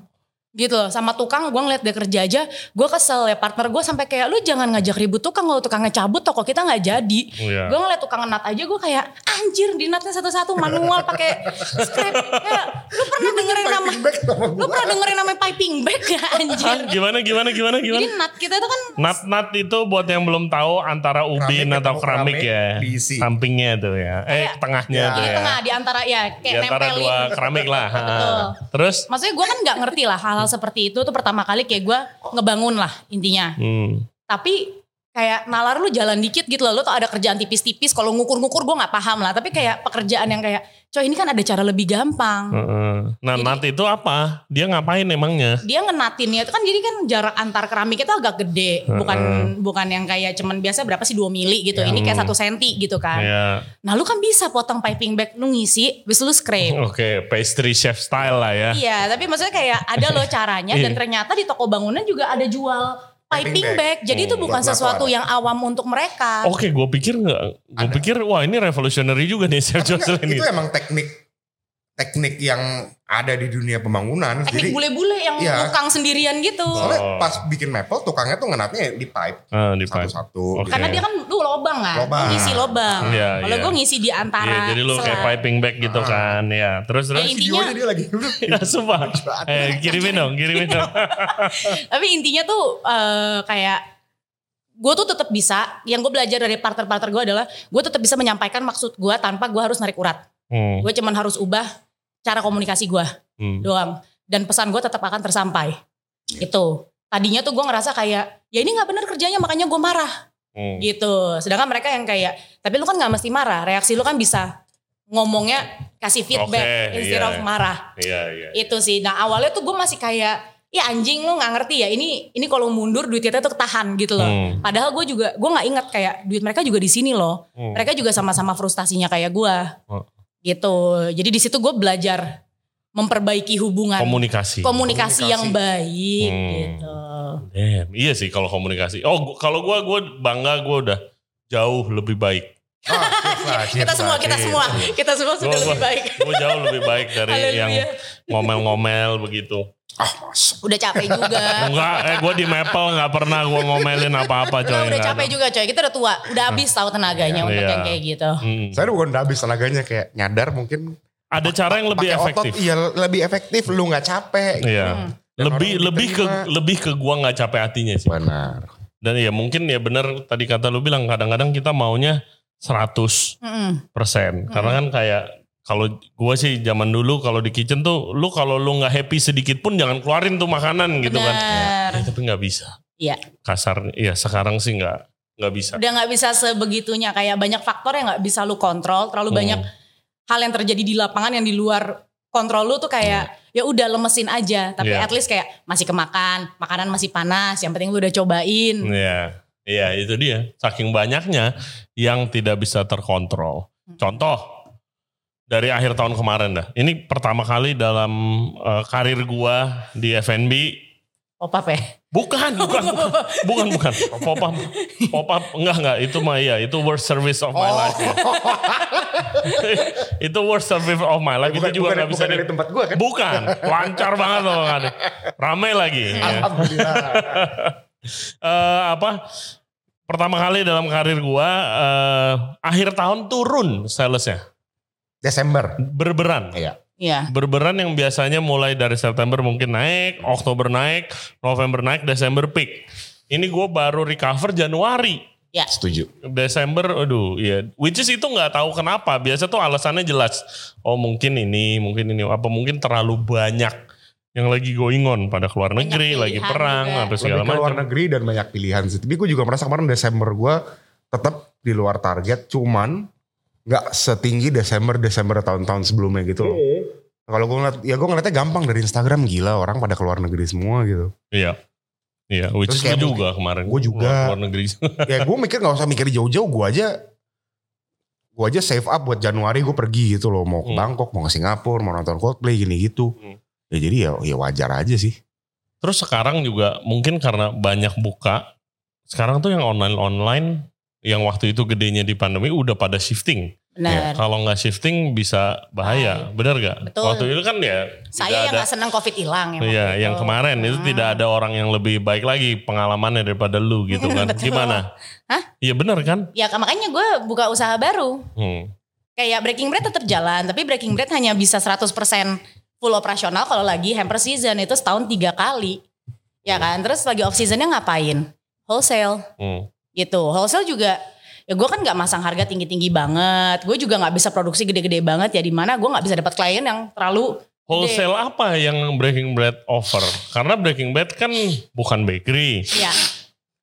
Speaker 3: Gitu loh, sama tukang gue ngeliat dia kerja aja, gue kesel ya partner gue sampai kayak lu jangan ngajak ribut tukang kalau tukangnya cabut toko kita nggak jadi.
Speaker 2: Iya.
Speaker 3: Gue ngeliat tukang nat aja gue kayak anjir di natnya satu-satu manual pakai strap. Kayak, lu pernah dengerin nama
Speaker 1: Fighting back sama
Speaker 3: lu
Speaker 1: gue
Speaker 3: pernah dengerin nama piping bag ya
Speaker 2: Hah,
Speaker 3: anjir.
Speaker 2: gimana gimana gimana
Speaker 3: Jadi
Speaker 2: gimana?
Speaker 3: nat kita itu kan
Speaker 2: Nat-nat itu buat yang belum tahu antara ubin
Speaker 1: Keramik
Speaker 2: atau
Speaker 1: ketemu
Speaker 2: keramik
Speaker 1: keramik
Speaker 2: ya.
Speaker 1: diisi.
Speaker 2: Sampingnya tuh ya. Eh,
Speaker 3: Kayak-
Speaker 2: tengahnya
Speaker 1: Ya.
Speaker 2: tuh
Speaker 3: di
Speaker 2: ya.
Speaker 3: Iya. tengah di antara ya
Speaker 2: Di
Speaker 3: kayak
Speaker 2: antara
Speaker 3: nempelin.
Speaker 2: dua keramik lah. Ha.
Speaker 3: Betul.
Speaker 2: Terus
Speaker 3: Maksudnya gue kan nggak ngerti lah hal-hal seperti itu tuh pertama kali kayak gue ngebangun lah intinya.
Speaker 2: hmm.
Speaker 3: Tapi kayak nalar lu jalan dikit gitu loh, lu tuh ada kerjaan tipis-tipis. Kalau ngukur-ngukur gue nggak paham lah. Tapi kayak pekerjaan yang kayak, coy ini kan ada cara lebih gampang.
Speaker 2: Heeh. Nah,
Speaker 3: Jadi-
Speaker 2: nat itu apa? Dia ngapain emangnya?
Speaker 3: Dia ngenatinnya itu kan jadi kan jarak antar keramik itu agak gede, bukan bukan yang kayak cuman biasa berapa sih 2 mili gitu. Ini kayak satu senti gitu kan.
Speaker 2: Ya,
Speaker 3: Nah lu kan bisa potong piping bag, lu ngisi, bis lu scrape.
Speaker 2: oke, pastry chef style lah ya.
Speaker 3: Iya, tapi maksudnya kayak ada loh caranya dan
Speaker 2: Iya.
Speaker 3: ternyata di toko bangunan juga ada jual piping
Speaker 1: Piping
Speaker 3: bag.
Speaker 1: bag.
Speaker 3: Jadi itu
Speaker 1: Hmm.
Speaker 3: bukan
Speaker 1: Buat
Speaker 3: sesuatu
Speaker 1: lapor.
Speaker 3: yang awam untuk mereka.
Speaker 2: Oke, gue pikir nggak, gue
Speaker 1: Ada.
Speaker 2: pikir wah ini revolutionary juga nih Chef
Speaker 1: Enggak,
Speaker 2: Jocelyn
Speaker 1: itu
Speaker 2: gitu.
Speaker 1: emang teknik teknik yang ada di dunia pembangunan. Jadi
Speaker 3: Teknik bule-bule yang
Speaker 1: Iya.
Speaker 3: tukang sendirian gitu.
Speaker 1: soalnya
Speaker 2: Oh.
Speaker 1: pas bikin maple tukangnya tuh ngenatnya di pipe
Speaker 2: Ah, di Pak.
Speaker 1: satu-satu.
Speaker 2: Oke.
Speaker 1: gitu.
Speaker 3: Karena dia kan lu lobang kan,
Speaker 1: Lobang.
Speaker 3: Lu ngisi lobang.
Speaker 2: Iya,
Speaker 3: Kalau
Speaker 2: iya.
Speaker 3: gue ngisi di antara.
Speaker 2: Iya, jadi lu kayak
Speaker 3: selang.
Speaker 2: piping bag gitu
Speaker 1: Ah.
Speaker 2: kan, ya. Terus terus,
Speaker 3: Iya, iya.
Speaker 1: Videonya dia lagi.
Speaker 2: ya sumpah. Eh, kirimin dong, kirimin dong.
Speaker 3: Iya. Tapi intinya tuh eh, kayak gue tuh tetap bisa. Yang gue belajar dari partner-partner gue adalah gue tetap bisa menyampaikan maksud gue tanpa gue harus narik urat.
Speaker 2: Hmm,
Speaker 3: Gue cuman harus ubah cara komunikasi gue.
Speaker 2: hmm.
Speaker 3: doang dan pesan gue tetap akan tersampai
Speaker 2: Iya.
Speaker 3: gitu tadinya tuh gue ngerasa kayak ya ini nggak bener kerjanya makanya gue marah
Speaker 2: Hmm.
Speaker 3: gitu sedangkan mereka yang kayak tapi lu kan nggak mesti marah reaksi lu kan bisa ngomongnya kasih feedback
Speaker 2: Oke,
Speaker 3: instead
Speaker 2: iya,
Speaker 3: of
Speaker 2: iya.
Speaker 3: marah
Speaker 2: Iya, iya.
Speaker 3: itu sih nah awalnya tuh gue masih kayak ya anjing lu nggak ngerti ya ini ini kalau mundur duit kita tuh ketahan gitu loh
Speaker 2: Hmm.
Speaker 3: padahal gue juga gue nggak ingat kayak duit mereka juga di sini loh
Speaker 2: Hmm.
Speaker 3: mereka juga sama-sama frustasinya kayak gue
Speaker 2: Oh.
Speaker 3: gitu jadi di situ gue belajar memperbaiki hubungan
Speaker 2: Komunikasi.
Speaker 1: Komunikasi.
Speaker 3: komunikasi, yang baik
Speaker 2: Iya. Hmm.
Speaker 3: gitu
Speaker 2: Damn, iya sih kalau komunikasi. Oh, gua- kalau gua gua bangga gua udah jauh lebih baik.
Speaker 1: Ah, cheers lah, cheers
Speaker 3: kita
Speaker 1: lah,
Speaker 3: semua kita
Speaker 1: cheers.
Speaker 3: semua kita semua
Speaker 2: Iya, Gua-
Speaker 3: sudah lebih
Speaker 2: gua-
Speaker 3: baik
Speaker 2: Gue jauh lebih baik dari
Speaker 3: Haleluya.
Speaker 2: yang ngomel-ngomel begitu.
Speaker 1: Ah, masa.
Speaker 3: udah capek juga
Speaker 2: Enggak, eh gue di Maple nggak pernah gue ngomelin apa-apa coy.
Speaker 3: Kita udah
Speaker 2: nggak
Speaker 3: capek
Speaker 2: ada.
Speaker 3: juga coy kita udah tua udah habis tahu tenaganya untuk
Speaker 2: Iya.
Speaker 3: yang kayak gitu
Speaker 2: Hmm.
Speaker 1: Saya bukan udah habis tenaganya kayak nyadar mungkin
Speaker 2: Ada cara yang lebih
Speaker 1: pakai
Speaker 2: efektif.
Speaker 1: Otot, iya lebih efektif lu nggak capek.
Speaker 2: Iya.
Speaker 3: Hmm.
Speaker 1: Dan
Speaker 2: Lebih
Speaker 1: orang
Speaker 2: lebih ke
Speaker 1: diterima.
Speaker 2: lebih ke gua nggak capek hatinya sih.
Speaker 1: Benar.
Speaker 2: Dan ya mungkin ya bener tadi kata lu bilang kadang-kadang kita maunya 100%
Speaker 3: Mm-mm.
Speaker 2: karena kan kayak kalau gua sih zaman dulu kalau di kitchen tuh lu kalau lu nggak happy sedikit pun jangan keluarin tuh makanan gitu kan.
Speaker 3: Benar.
Speaker 2: Ya, tapi nggak bisa.
Speaker 3: Iya.
Speaker 2: Kasarnya ya sekarang sih nggak nggak bisa.
Speaker 3: udah nggak bisa sebegitunya kayak banyak faktor yang nggak bisa lu kontrol terlalu
Speaker 2: Hmm.
Speaker 3: banyak hal yang terjadi di lapangan yang di luar kontrol lu tuh kayak ya udah lemesin aja tapi
Speaker 2: Iya.
Speaker 3: at least kayak masih kemakan makanan masih panas yang penting lu udah cobain
Speaker 2: Hmm. Iya, iya itu dia. Saking banyaknya yang tidak bisa terkontrol.
Speaker 3: Mm.
Speaker 2: Contoh dari akhir tahun kemarin dah. Ini pertama kali dalam eh, karir gua di F&B.
Speaker 3: Pop up ya.
Speaker 2: Bukan, bukan, bukan, bukan, bukan. Pop up, pop up, enggak, enggak. Itu mah iya, itu worst service of
Speaker 1: Oh.
Speaker 2: my life. ya. itu worst service of my life.
Speaker 1: bukan,
Speaker 2: itu juga
Speaker 1: bukan,
Speaker 2: nggak bisa
Speaker 1: bukan
Speaker 2: di-
Speaker 1: dari tempat gue kan?
Speaker 2: Bukan, lancar banget loh kan. Rame lagi. ya.
Speaker 1: Alhamdulillah.
Speaker 2: Eh, apa? Pertama kali dalam karir gua eh, akhir tahun turun salesnya.
Speaker 1: Desember.
Speaker 2: Berberan.
Speaker 1: Iya.
Speaker 3: Iya.
Speaker 2: Berberan yang biasanya mulai dari September mungkin naik, Oktober naik, November naik, Desember peak. Ini gua baru recover Januari.
Speaker 1: Setuju.
Speaker 2: Desember, aduh, ya. Which is itu nggak tahu kenapa. Biasa tuh alasannya jelas. Oh mungkin ini, mungkin ini, apa mungkin terlalu banyak yang lagi going on pada keluar
Speaker 3: Banyak
Speaker 2: negeri, lagi
Speaker 3: pilihan
Speaker 2: perang,
Speaker 3: juga.
Speaker 2: apa segala
Speaker 1: Lebih ke luar
Speaker 2: macam.
Speaker 1: negeri dan banyak pilihan sih. Tapi gue juga merasa kemarin Desember gue tetap di luar target. Cuman nggak setinggi Desember Desember tahun-tahun sebelumnya gitu loh. Kalau gue ngeliat, ya gue ngeliatnya gampang dari Instagram gila orang pada keluar negeri semua gitu.
Speaker 2: Iya. Iya,
Speaker 1: Terus
Speaker 2: which is gue
Speaker 1: kayak
Speaker 2: juga kemarin.
Speaker 1: Gua juga.
Speaker 2: Keluar, keluar negeri.
Speaker 1: ya gue mikir nggak usah mikir jauh-jauh, gue aja gue aja save up buat Januari gue pergi gitu loh mau ke
Speaker 2: Hmm.
Speaker 1: Bangkok, mau ke Singapura, mau nonton Coldplay gini gitu.
Speaker 2: Hmm.
Speaker 1: Ya jadi ya, ya wajar aja sih.
Speaker 2: Terus sekarang juga mungkin karena banyak buka, sekarang tuh yang online-online, yang waktu itu gedenya di pandemi udah pada shifting.
Speaker 3: Benar.
Speaker 2: Kalau nggak shifting bisa bahaya, bener gak?
Speaker 3: Betul.
Speaker 2: Waktu itu kan ya tidak
Speaker 3: Saya yang
Speaker 2: ada-
Speaker 3: gak senang covid hilang. ya, waktu
Speaker 2: Iya,
Speaker 3: itu.
Speaker 2: yang kemarin itu
Speaker 3: Hmm.
Speaker 2: tidak ada orang yang lebih baik lagi pengalamannya daripada lu gitu kan.
Speaker 3: Betul.
Speaker 2: Gimana?
Speaker 3: Hah?
Speaker 2: Iya benar kan?
Speaker 3: Ya makanya gue buka usaha baru.
Speaker 2: Hmm.
Speaker 3: Kayak Breaking Bread tetap jalan. Tapi Breaking Bread hanya bisa 100% full operasional kalau lagi hamper season. Itu setahun tiga kali.
Speaker 2: Iya.
Speaker 3: Ya kan? Terus lagi off seasonnya ngapain? Wholesale.
Speaker 2: hmm.
Speaker 3: gitu. Wholesale juga ya gue kan nggak masang harga tinggi-tinggi banget. Gue juga nggak bisa produksi gede-gede banget ya di mana gue nggak bisa dapat klien yang terlalu
Speaker 2: Wholesale apa yang Breaking Bread offer? Karena Breaking Bread kan bukan bakery,
Speaker 3: ya.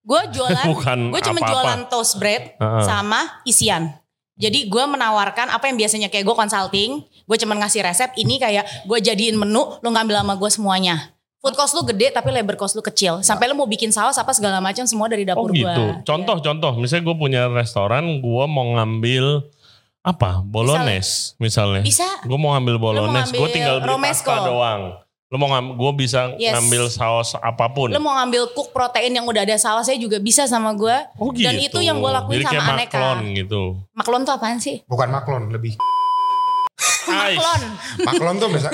Speaker 3: Gue jualan,
Speaker 2: bukan
Speaker 3: gue cuma
Speaker 2: apa-apa.
Speaker 3: jualan toast bread
Speaker 2: Heeh.
Speaker 3: sama isian. Jadi gue menawarkan apa yang biasanya kayak gue consulting, gue cuman ngasih resep ini kayak gue jadiin menu, lo ngambil sama gue semuanya. Food cost lu gede tapi labor cost lu kecil. Sampai lu mau bikin saus apa segala macam semua dari
Speaker 2: Oh
Speaker 3: dapur Iya. gue.
Speaker 2: gitu. Contoh-contoh, misalnya gue punya restoran, gue mau ngambil apa? Bolognese misalnya.
Speaker 3: Bisa.
Speaker 2: Gue mau ngambil bolognese, gue
Speaker 3: ngambil
Speaker 2: tinggal beli
Speaker 3: romesco.
Speaker 2: pasta doang. Lo mau ngambil, gue bisa
Speaker 3: Yes.
Speaker 2: ngambil saus apapun.
Speaker 3: Iya. Lu mau ngambil cook protein yang udah ada sausnya juga bisa sama gue.
Speaker 2: Oh gitu.
Speaker 3: Dan itu yang gue lakuin
Speaker 2: Jadi kayak
Speaker 3: sama Aneka.
Speaker 2: maklon gitu.
Speaker 3: Maklon tuh apaan sih?
Speaker 1: Bukan maklon lebih.
Speaker 2: Ais,
Speaker 3: Maklon.
Speaker 1: Maklon tuh biasa.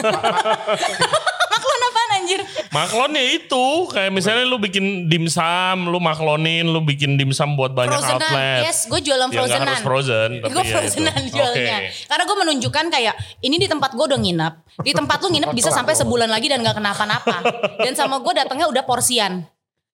Speaker 3: Maklon apaan anjir?
Speaker 2: maklon ya itu kayak misalnya lu bikin dimsum, lu maklonin, lu bikin dimsum buat banyak outlet.
Speaker 3: Frozenan. Yes, gue
Speaker 2: Ya
Speaker 3: jualan
Speaker 2: nggak harus
Speaker 3: frozenan.
Speaker 2: frozen, tapi
Speaker 3: gue
Speaker 2: ya
Speaker 3: frozenan
Speaker 2: itu.
Speaker 3: jualnya. Karena gue menunjukkan kayak ini di tempat gue udah nginap. Di tempat lu nginep bisa sampai sebulan lagi dan gak kenapa-napa. Dan sama gue datangnya udah porsian.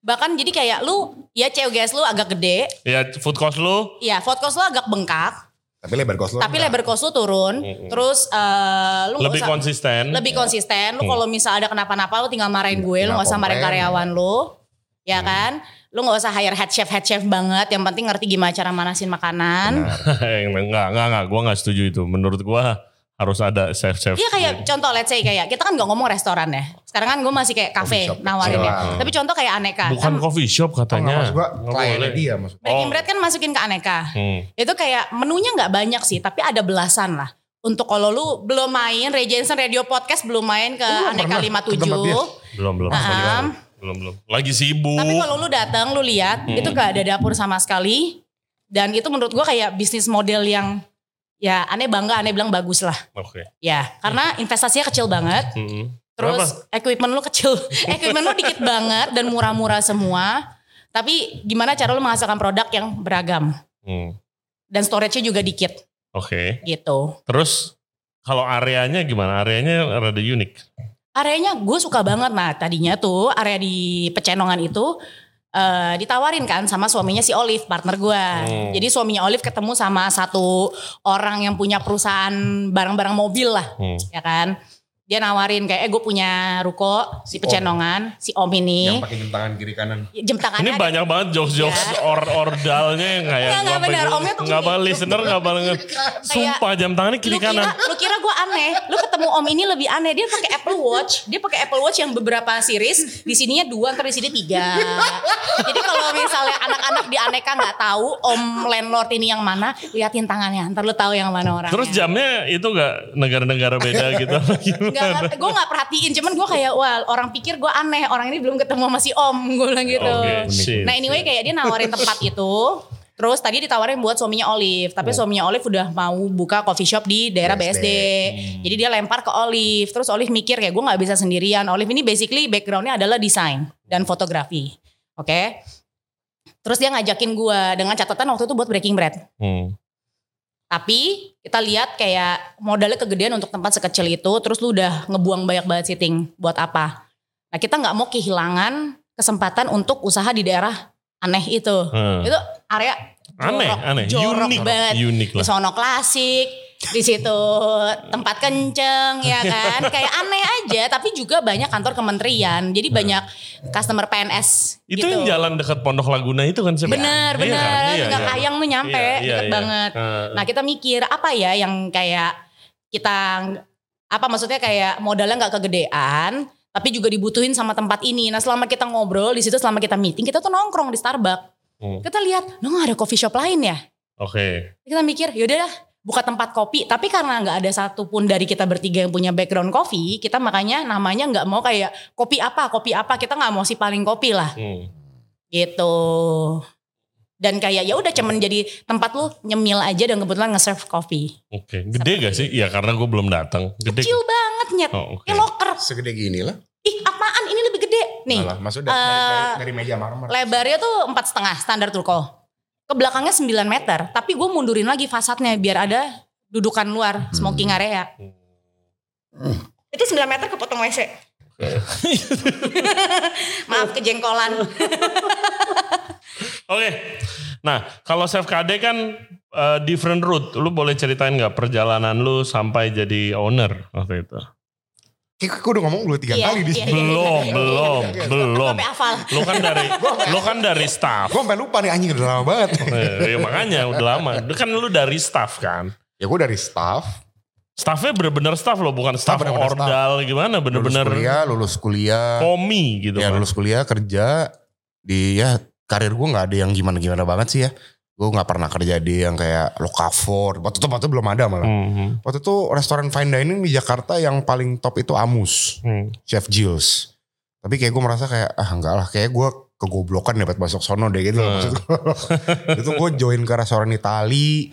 Speaker 3: Bahkan jadi kayak lu ya COGS lu agak gede.
Speaker 2: Ya food cost lu
Speaker 3: Ya food cost lu agak bengkak.
Speaker 1: tapi lebar kos lo.
Speaker 3: Tapi labor cost lu turun. Terus eh, lu nggak
Speaker 2: lebih
Speaker 3: usah-
Speaker 2: konsisten. Iya. Mm.
Speaker 3: lebih konsisten. Lu kalau misal ada kenapa-napa lu tinggal marahin gue, lu
Speaker 1: Tinggal
Speaker 3: nggak usah marahin
Speaker 1: komplain.
Speaker 3: karyawan lu. Ya
Speaker 2: Mm.
Speaker 3: kan? Lu nggak usah hire head chef head chef banget, yang penting ngerti gimana cara manasin makanan.
Speaker 2: enggak, enggak, enggak. Gue enggak setuju itu. Menurut gue harus ada chef-chef.
Speaker 3: Iya kayak contoh let's say kayak kita kan nggak ngomong restoran ya. Sekarang kan gue masih kayak
Speaker 1: Coffee
Speaker 3: kafe
Speaker 1: shop. Iya.
Speaker 3: nawarin ya.
Speaker 1: Doang.
Speaker 3: Tapi contoh kayak aneka.
Speaker 2: Bukan
Speaker 3: kan
Speaker 2: coffee shop katanya.
Speaker 1: Maksud gue
Speaker 2: Nggak
Speaker 1: kliennya
Speaker 2: boleh.
Speaker 1: dia maksud.
Speaker 3: Breaking
Speaker 2: Oh.
Speaker 3: bread kan masukin ke aneka.
Speaker 2: Hmm.
Speaker 3: Itu kayak menunya nggak banyak sih, tapi ada belasan lah. Untuk kalau lu belum main Ray Jensen Radio Podcast belum main ke
Speaker 1: Oh,
Speaker 3: Aneka
Speaker 1: pernah ke tempat dia. Oh.
Speaker 3: 57.
Speaker 2: Belum, belum.
Speaker 3: Nah,
Speaker 2: Belum, belum. Lagi sibuk.
Speaker 3: Tapi kalau lu datang, lu lihat
Speaker 1: Hmm.
Speaker 3: itu gak ada dapur sama sekali. Dan itu menurut gua kayak bisnis model yang ya aneh bangga, aneh bilang bagus lah.
Speaker 2: Oke. Hmm,
Speaker 3: Ya, karena investasinya kecil banget.
Speaker 2: Mm-mm.
Speaker 3: Terus equipment lu kecil, equipment lu dikit banget dan murah-murah semua. Tapi gimana cara lu menghasilkan produk yang beragam
Speaker 2: Hmm.
Speaker 3: dan storage-nya juga dikit
Speaker 2: Oke.
Speaker 3: gitu.
Speaker 2: Terus kalau areanya gimana? Areanya rada unik.
Speaker 3: Areanya gue suka banget. Nah tadinya tuh area di Pecenongan itu eh, ditawarin kan sama suaminya si Olive, partner gue.
Speaker 2: Hmm.
Speaker 3: Jadi suaminya Olive ketemu sama satu orang yang punya perusahaan barang-barang mobil lah,
Speaker 2: Hmm.
Speaker 3: ya kan. Dia nawarin kayak, eh gue punya ruko
Speaker 1: Si
Speaker 3: si
Speaker 1: Om.
Speaker 3: Pecenongan, si Om
Speaker 1: Yang
Speaker 3: ini.
Speaker 1: pakai jam tangan kiri kanan.
Speaker 3: Jam
Speaker 2: Ini
Speaker 3: tangannya ada ya?
Speaker 2: banyak banget jokes-jokes or ordalnya yang kayak
Speaker 3: Enggak, enggak
Speaker 2: gua
Speaker 3: benar.
Speaker 2: pengen-
Speaker 3: Omnya tuh
Speaker 2: nggak
Speaker 3: gini.
Speaker 2: balik listener nggak balik. Sumpah jam tangannya kiri
Speaker 3: lu kira,
Speaker 2: kanan.
Speaker 3: Lu kira enggak gue aneh. Lu ketemu om ini lebih aneh. Dia pakai Apple Watch. Dia pakai Apple Watch yang beberapa series. Di sininya dua, ntar di sini tiga. Jadi kalau misalnya anak-anak di aneka nggak tahu om landlord ini yang mana, liatin tangannya. Ntar lu tahu yang mana orangnya.
Speaker 2: Terus jamnya itu gak negara-negara beda gitu apa
Speaker 3: Nggak,
Speaker 2: gimana?
Speaker 3: nggak, gue gak perhatiin cuman gue kayak wah orang pikir gue aneh orang ini belum ketemu masih om gue bilang gitu
Speaker 2: Oke, shit,
Speaker 3: nah anyway
Speaker 2: shit.
Speaker 3: kayak dia nawarin tempat itu terus tadi ditawarin buat suaminya Olive tapi suaminya Olive udah mau buka coffee shop di daerah BSD,
Speaker 1: BSD.
Speaker 3: jadi dia lempar ke Olive terus Olive mikir kayak gue nggak bisa sendirian Olive ini basically backgroundnya adalah desain dan fotografi oke terus dia ngajakin gue dengan catatan waktu itu buat breaking bread
Speaker 2: Hmm.
Speaker 3: tapi kita lihat kayak modalnya kegedean untuk tempat sekecil itu, terus lu udah ngebuang banyak banget seating buat apa? Nah kita nggak mau kehilangan kesempatan untuk usaha di daerah aneh itu.
Speaker 2: Hmm.
Speaker 3: Itu area
Speaker 2: Aneh,
Speaker 3: jorok,
Speaker 2: aneh.
Speaker 3: jorok
Speaker 2: Unik,
Speaker 3: banget.
Speaker 2: unik
Speaker 3: Di
Speaker 2: lah.
Speaker 3: sono klasik, di situ tempat kenceng ya kan, kayak aneh aja. Tapi juga banyak kantor kementerian, jadi banyak customer PNS.
Speaker 2: Itu
Speaker 3: gitu.
Speaker 2: yang jalan dekat Pondok Laguna itu kan sebenarnya.
Speaker 3: Bener,
Speaker 2: Iya
Speaker 3: bener.
Speaker 2: kan?
Speaker 3: Nggak
Speaker 2: Iya, iya.
Speaker 3: kayang tuh
Speaker 2: Iya,
Speaker 3: nyampe,
Speaker 2: iya,
Speaker 3: deket
Speaker 2: iya.
Speaker 3: banget.
Speaker 2: Heeh.
Speaker 3: Nah kita mikir apa ya yang kayak kita apa maksudnya kayak modalnya nggak kegedean tapi juga dibutuhin sama tempat ini. Nah selama kita ngobrol di situ selama kita meeting kita tuh nongkrong di Starbucks.
Speaker 2: Hmm.
Speaker 3: Kita lihat, lo nggak ada coffee shop lain ya?
Speaker 2: Oke.
Speaker 3: Kita mikir yaudah lah buka tempat kopi. Tapi karena nggak ada satupun dari kita bertiga yang punya background kopi, kita makanya namanya nggak mau kayak kopi apa, kopi apa. Kita nggak mau si paling kopi lah
Speaker 2: Hmm.
Speaker 3: gitu dan kayak ya udah cuman jadi tempat lu nyemil aja dan kebetulan nge-serve kopi
Speaker 2: Oke. Gede gak sih? Iya karena gue belum datang. Gede.
Speaker 3: kecil banget nyet
Speaker 2: Oh, oke.
Speaker 3: kayak loker
Speaker 1: Segede gini lah.
Speaker 3: ih apaan ini lebih gede nih
Speaker 1: Malah, maksudnya dari,
Speaker 3: eh,
Speaker 1: dari- dari meja marmer.
Speaker 3: lebarnya tuh empat setengah standar Turko ke belakangnya 9 meter tapi gue mundurin lagi fasadnya biar ada dudukan luar smoking area itu 9 meter kepotong WC maaf kejengkolan
Speaker 2: Oke. Nah, kalau Chef KD kan uh, different route. Lu boleh ceritain nggak perjalanan lu sampai jadi owner waktu itu?
Speaker 1: Kayak gue udah ngomong dua tiga
Speaker 3: Iya,
Speaker 1: kali di
Speaker 3: iya,
Speaker 1: sini.
Speaker 3: iya.
Speaker 2: Belum, belum, belum.
Speaker 3: sampai hafal
Speaker 2: Lu kan dari lu kan dari
Speaker 3: iya.
Speaker 2: staff.
Speaker 1: Gue sampai lupa nih anjing udah lama banget.
Speaker 2: Eh, ya makanya udah lama. Lu Kan lu dari staff kan.
Speaker 1: ya gue dari staff.
Speaker 2: Staffnya bener-bener staff loh, bukan staff
Speaker 1: bener-bener staff.
Speaker 2: ordal gimana,
Speaker 1: Lulus
Speaker 2: bener-bener
Speaker 1: kuliah, lulus kuliah.
Speaker 2: komi gitu
Speaker 1: ya
Speaker 2: kan.
Speaker 1: lulus kuliah kerja di ya karir gue nggak ada yang gimana gimana banget sih ya gue nggak pernah kerja di yang kayak lokavor waktu itu waktu itu belum ada malah
Speaker 2: Mhm.
Speaker 1: waktu itu restoran fine dining di Jakarta yang paling top itu Amus
Speaker 2: Hmm.
Speaker 1: Chef Jules tapi kayak gue merasa kayak ah enggak lah kayak gue kegoblokan dapat masuk sono deh gitu loh
Speaker 2: Hmm.
Speaker 1: maksud gue. itu gue join ke restoran Itali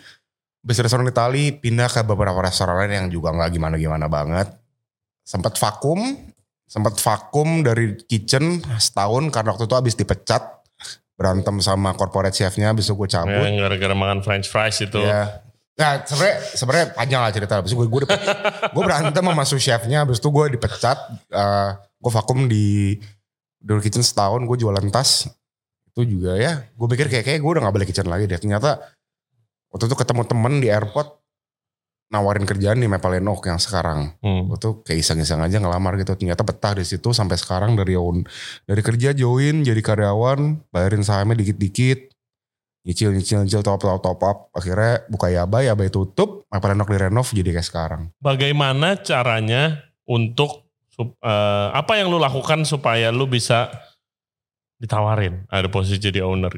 Speaker 1: Habis restoran Itali pindah ke beberapa restoran lain yang juga nggak gimana-gimana banget sempat vakum sempat vakum dari kitchen setahun karena waktu itu habis dipecat berantem sama corporate chefnya habis itu gue cabut
Speaker 2: Ya, gara-gara makan french fries itu.
Speaker 1: Ya. Nah, sebenarnya sebenarnya panjang lah cerita. Habis itu gue gue dipecat. gue berantem sama sous chefnya, habis itu gue dipecat. Eh, gue vakum di Door Kitchen setahun, gue jualan tas. Itu juga ya. Gue pikir kayak kayak gue udah gak balik kitchen lagi deh. Ternyata waktu itu ketemu temen di airport nawarin kerjaan di Maple Lane Oak yang sekarang.
Speaker 2: Hmm.
Speaker 1: Gue tuh kayak iseng-iseng aja ngelamar gitu. Ternyata betah di situ sampai sekarang dari own- dari kerja join jadi karyawan, bayarin sahamnya dikit-dikit nyicil nyicil nyicil top up top up akhirnya buka Yaba Yaba tutup Maple Lenok direnov jadi kayak sekarang
Speaker 2: bagaimana caranya untuk sup- eh, apa yang lu lakukan supaya lu bisa ditawarin ada posisi jadi owner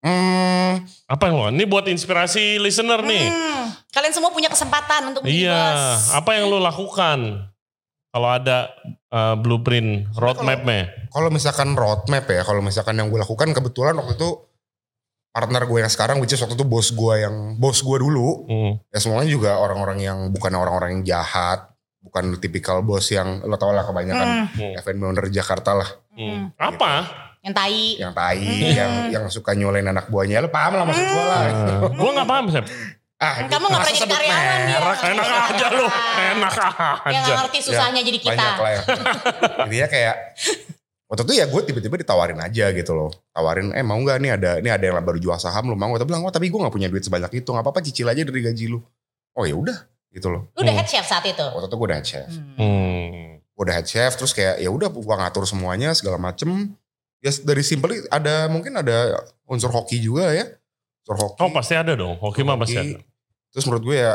Speaker 1: hmm,
Speaker 2: apa yang lu ini buat inspirasi listener nih
Speaker 3: Hmm, kalian semua punya kesempatan untuk menjadi
Speaker 2: iya
Speaker 3: bos.
Speaker 2: apa yang lu lakukan kalau ada eh, blueprint roadmapnya
Speaker 1: kalau misalkan roadmap ya kalau misalkan yang gue lakukan kebetulan waktu itu partner gue yang sekarang which is waktu itu bos gue yang bos gue dulu
Speaker 2: Hmm.
Speaker 1: ya semuanya juga orang-orang yang bukan orang-orang yang jahat bukan tipikal bos yang lo tau lah kebanyakan
Speaker 3: Hmm,
Speaker 1: F&B owner Jakarta lah
Speaker 2: Hmm. apa
Speaker 3: yang tai.
Speaker 1: yang tai
Speaker 3: Hmm.
Speaker 1: yang yang suka nyolain anak buahnya lo paham lah maksud gue lah
Speaker 2: Eh, gua nggak paham Sep.
Speaker 1: ah,
Speaker 3: Kamu nggak
Speaker 1: masa
Speaker 3: pernah jadi
Speaker 1: sebut
Speaker 3: karyawan ya?
Speaker 1: merek?
Speaker 3: dia.
Speaker 2: enak enak aja lu enak
Speaker 3: Yang
Speaker 2: aja
Speaker 3: nggak ngerti susahnya jadi kita.
Speaker 1: Banyak lah ya. Intinya kayak waktu itu ya gue tiba-tiba ditawarin aja gitu loh. Tawarin eh mau nggak nih ada ini ada yang baru jual saham lu mau gue bilang oh tapi gue nggak punya duit sebanyak itu nggak apa-apa cicil aja dari gaji lu. Oh ya udah gitu loh.
Speaker 3: Lu udah head chef saat itu.
Speaker 1: Waktu itu gue udah head chef.
Speaker 3: Hmm.
Speaker 2: Hmm.
Speaker 1: Gue udah head chef terus kayak ya udah gue ngatur semuanya segala macem. Ya dari simple ada mungkin ada unsur hoki juga ya. Unsur hoki.
Speaker 2: oh pasti ada dong hoki mah pasti ada
Speaker 1: Terus menurut gue ya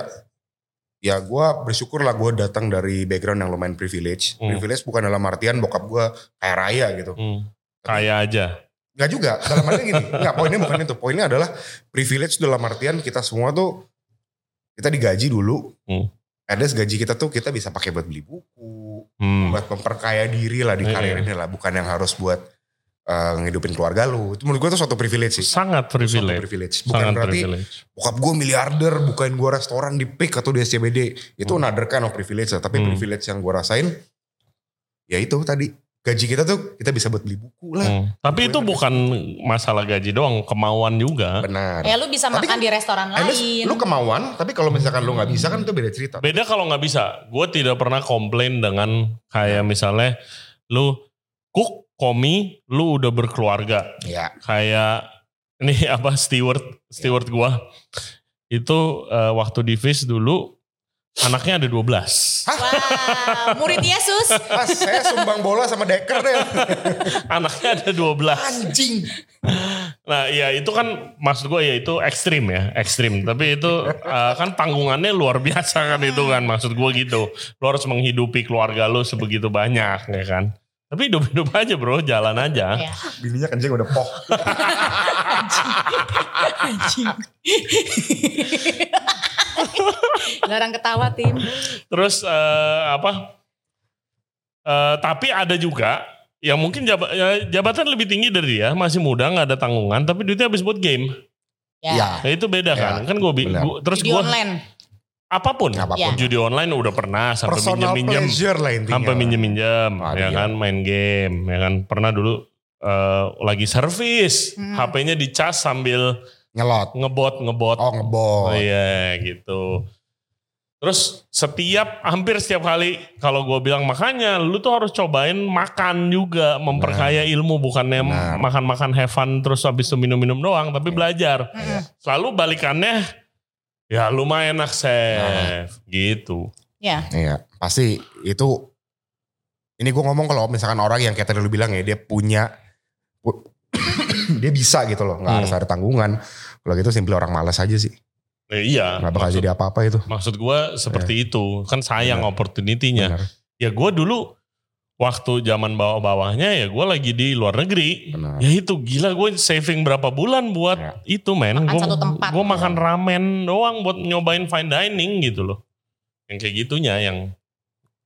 Speaker 1: ya gue bersyukur lah gue datang dari background yang lumayan privilege.
Speaker 2: Hmm.
Speaker 1: Privilege bukan dalam artian bokap gue kaya raya gitu.
Speaker 2: Hmm. Kaya aja.
Speaker 1: Gak juga, dalam artian gini. Enggak, poinnya bukan itu. Poinnya adalah privilege dalam artian kita semua tuh, kita digaji dulu.
Speaker 2: Hmm.
Speaker 1: Ada gaji kita tuh kita bisa pakai buat beli buku,
Speaker 2: Hmm.
Speaker 1: buat memperkaya diri lah di
Speaker 2: Iya,
Speaker 1: karir
Speaker 2: iya.
Speaker 1: ini lah. Bukan yang harus buat eh, ngehidupin keluarga lu. Itu menurut gue tuh suatu privilege sih.
Speaker 2: Sangat
Speaker 1: Suatu
Speaker 2: privilege.
Speaker 1: privilege. Bukan
Speaker 2: Sangat
Speaker 1: berarti
Speaker 2: privilege.
Speaker 1: bokap gue miliarder bukain gue restoran di PIK atau di SCBD itu another kind of privilege lah tapi
Speaker 2: Hmm.
Speaker 1: privilege yang gue rasain ya itu tadi gaji kita tuh kita bisa buat beli buku lah
Speaker 2: Hmm. Tapi itu bukan masalah gaji doang, kemauan juga.
Speaker 1: benar
Speaker 3: Ya lu bisa
Speaker 1: Tapi
Speaker 3: makan
Speaker 1: kan-
Speaker 3: di restoran
Speaker 1: Eh, lu-
Speaker 3: lain.
Speaker 1: lu kemauan tapi kalau misalkan lu nggak bisa kan itu beda cerita
Speaker 2: Beda kalau nggak bisa. Gue tidak pernah komplain dengan kayak misalnya lu cook, komi, lu udah berkeluarga.
Speaker 1: ya
Speaker 2: kayak ini apa steward steward gua itu eh, waktu di Viz dulu anaknya ada 12.
Speaker 3: Wow, murid Yesus.
Speaker 1: ah, saya sumbang bola sama Decker deh
Speaker 2: Anaknya ada 12.
Speaker 1: anjing
Speaker 2: Nah, ya itu kan maksud gua ya itu ekstrim ya, ekstrim. Tapi itu eh, kan tanggungannya luar biasa kan itu kan maksud gua gitu. Lu harus menghidupi keluarga lu sebegitu banyak ya kan. Tapi hidup-hidup aja bro, jalan aja.
Speaker 3: Ya,
Speaker 1: bininya kencing udah poh
Speaker 3: anjing. Larang ketawa tim.
Speaker 2: Terus eh, apa? Eh, tapi ada juga yang mungkin jaba- ya, jabatan lebih tinggi dari dia, masih muda nggak ada tanggungan, tapi duitnya habis buat game.
Speaker 3: Ya.
Speaker 2: Nah, itu
Speaker 1: Ya,
Speaker 2: beda kan? Kan gue
Speaker 1: benar.
Speaker 2: terus
Speaker 3: Di
Speaker 2: gue
Speaker 3: online.
Speaker 2: apapun,
Speaker 1: Apapun.
Speaker 2: judi online udah pernah sampai
Speaker 1: personal
Speaker 2: minjem-minjem,
Speaker 1: pleasure lah intinya
Speaker 2: sampai minjem-minjem,
Speaker 1: Ah, iya.
Speaker 2: ya kan main game, ya kan pernah dulu eh, lagi servis,
Speaker 3: Hmm.
Speaker 2: HP-nya dicas sambil
Speaker 1: ngelot
Speaker 2: ngebot ngebot.
Speaker 1: oh ngebol
Speaker 2: Oh iya gitu. Terus setiap hampir setiap kali kalau gue bilang makanya lu tuh harus cobain makan juga memperkaya ilmu bukannya
Speaker 1: Benar. Iya.
Speaker 2: makan-makan have fun terus habis itu minum-minum doang tapi belajar.
Speaker 3: Mm-mm.
Speaker 2: Selalu balikannya ya lumayan enak
Speaker 1: Nah.
Speaker 2: chef gitu.
Speaker 3: Ya.
Speaker 1: Iya, pasti itu ini gue ngomong kalau misalkan orang yang kayak tadi lu bilang ya dia punya pu- dia bisa gitu loh, nggak
Speaker 2: Hmm.
Speaker 1: harus ada tanggungan. Kalau gitu simpel orang malas aja sih,
Speaker 2: Eh, iya.
Speaker 1: nggak bakal
Speaker 2: maksud,
Speaker 1: jadi apa-apa itu.
Speaker 2: maksud gue seperti itu kan sayang
Speaker 1: Iya. Benar.
Speaker 2: opportunity-nya.
Speaker 1: Benar,
Speaker 2: ya gue dulu waktu zaman bawah-bawahnya ya gue lagi di luar negeri
Speaker 1: benar.
Speaker 2: ya itu gila gue saving berapa bulan buat
Speaker 1: Ya.
Speaker 2: itu men
Speaker 3: Makan
Speaker 2: gue
Speaker 3: satu tempat.
Speaker 2: gue makan ramen doang buat nyobain fine dining gitu loh yang kayak gitunya yang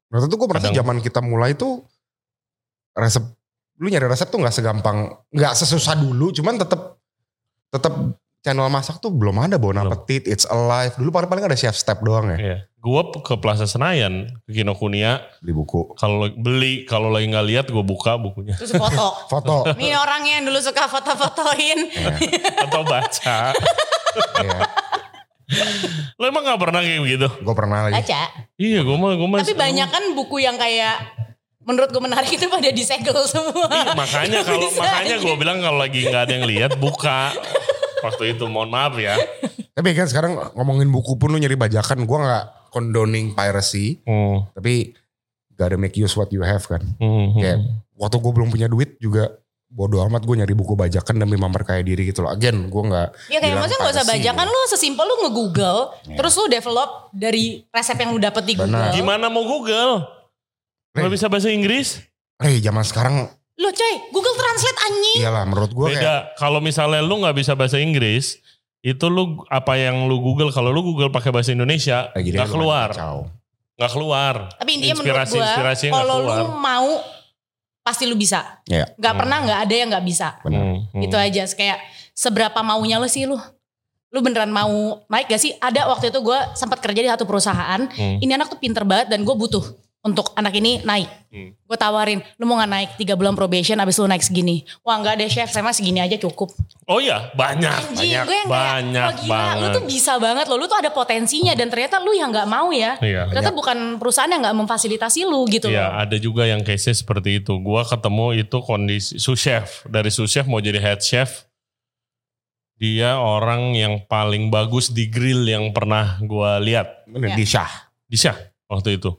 Speaker 1: Waktu itu gue merasa
Speaker 2: Kadang-
Speaker 1: zaman kita mulai tuh resep, lu nyari resep tuh nggak segampang, nggak sesusah dulu, cuman tetap tetap channel masak tuh belum ada Bon
Speaker 2: Belum. Iya.
Speaker 1: Appetit, It's Alive. Dulu paling-paling ada Chef Step doang ya,
Speaker 2: gue ke Plaza Senayan ke Kinokuniya
Speaker 1: beli buku,
Speaker 2: kalau beli kalau lagi nggak lihat gue buka bukunya
Speaker 3: Terus foto.
Speaker 1: foto.
Speaker 3: Ini orang yang dulu suka foto-fotoin.
Speaker 1: Iya,
Speaker 2: atau baca
Speaker 1: iya.
Speaker 2: lo emang nggak pernah kayak gitu
Speaker 1: Gue pernah lagi.
Speaker 3: Baca.
Speaker 2: iya gue mah gue mah
Speaker 3: Tapi banyak kan buku yang kayak menurut gue menarik itu pada disegel
Speaker 2: Ih,
Speaker 3: semua.
Speaker 2: makanya kalau
Speaker 3: Bisa
Speaker 2: makanya
Speaker 3: aja.
Speaker 2: gue bilang kalau lagi nggak ada yang lihat buka waktu itu mohon maaf ya
Speaker 1: Tapi kan sekarang ngomongin buku pun lu nyari bajakan, gua nggak condoning piracy,
Speaker 2: hmm.
Speaker 1: tapi gak ada make use what you have kan.
Speaker 2: Hmm.
Speaker 1: Kayak waktu gue belum punya duit juga bodoh amat gue nyari buku bajakan demi memperkaya diri gitu loh. Again, gue nggak
Speaker 3: Ya kayak
Speaker 1: bilang
Speaker 3: maksudnya gak usah
Speaker 1: piracy.
Speaker 3: bajakan lu sesimpel lu nge-google. Terus lu develop dari resep yang lu dapet di Google.
Speaker 1: Benar.
Speaker 2: Ya. Gimana mau Google? Gak
Speaker 1: Nih.
Speaker 2: bisa bahasa Inggris?
Speaker 1: Eh zaman sekarang
Speaker 3: Loh coy, Google Translate
Speaker 2: Iya.
Speaker 3: anjing.
Speaker 1: iyalah menurut gue kayak
Speaker 2: Beda. Kalau misalnya lu nggak bisa bahasa Inggris, itu lu apa yang lu Google? Kalau lu Google pakai bahasa Indonesia,
Speaker 1: lagi
Speaker 2: nggak keluar, nggak keluar.
Speaker 3: Tapi intinya
Speaker 2: inspirasi inspirasi
Speaker 3: menurut gue,
Speaker 2: nggak
Speaker 3: kalau
Speaker 2: keluar.
Speaker 3: lu mau, pasti lu bisa.
Speaker 1: Iya.
Speaker 3: Gak
Speaker 2: Hmm.
Speaker 3: pernah gak ada yang gak bisa.
Speaker 1: Benar.
Speaker 2: Hmm, hmm.
Speaker 3: Itu Gitu aja, kayak seberapa maunya lu sih lu. Lu beneran mau naik gak sih? Ada waktu itu gue sempat kerja di satu perusahaan.
Speaker 2: Hmm.
Speaker 3: Ini anak tuh pinter banget dan gue butuh untuk anak ini naik.
Speaker 2: Hmm.
Speaker 3: Gue tawarin, lu mau gak naik 3 bulan probation abis lu naik segini. Wah gak deh chef, saya mah segini aja cukup.
Speaker 2: Oh iya, banyak.
Speaker 3: Anjing,
Speaker 1: Banyak,
Speaker 3: gue yang kayak,
Speaker 2: banyak
Speaker 3: wah gila, lu
Speaker 2: banget.
Speaker 3: tuh bisa banget loh, lu tuh ada potensinya dan ternyata lu yang nggak mau ya.
Speaker 2: Iya.
Speaker 3: Ternyata bukan perusahaan yang nggak memfasilitasi lu gitu
Speaker 2: Iya,
Speaker 3: loh.
Speaker 2: ada juga yang case seperti itu. Gua ketemu itu kondisi sous chef, dari sous chef mau jadi head chef. Dia orang yang paling bagus di grill yang pernah gua lihat.
Speaker 1: Bener,
Speaker 3: Ya.
Speaker 1: di Syah.
Speaker 2: Disha waktu itu.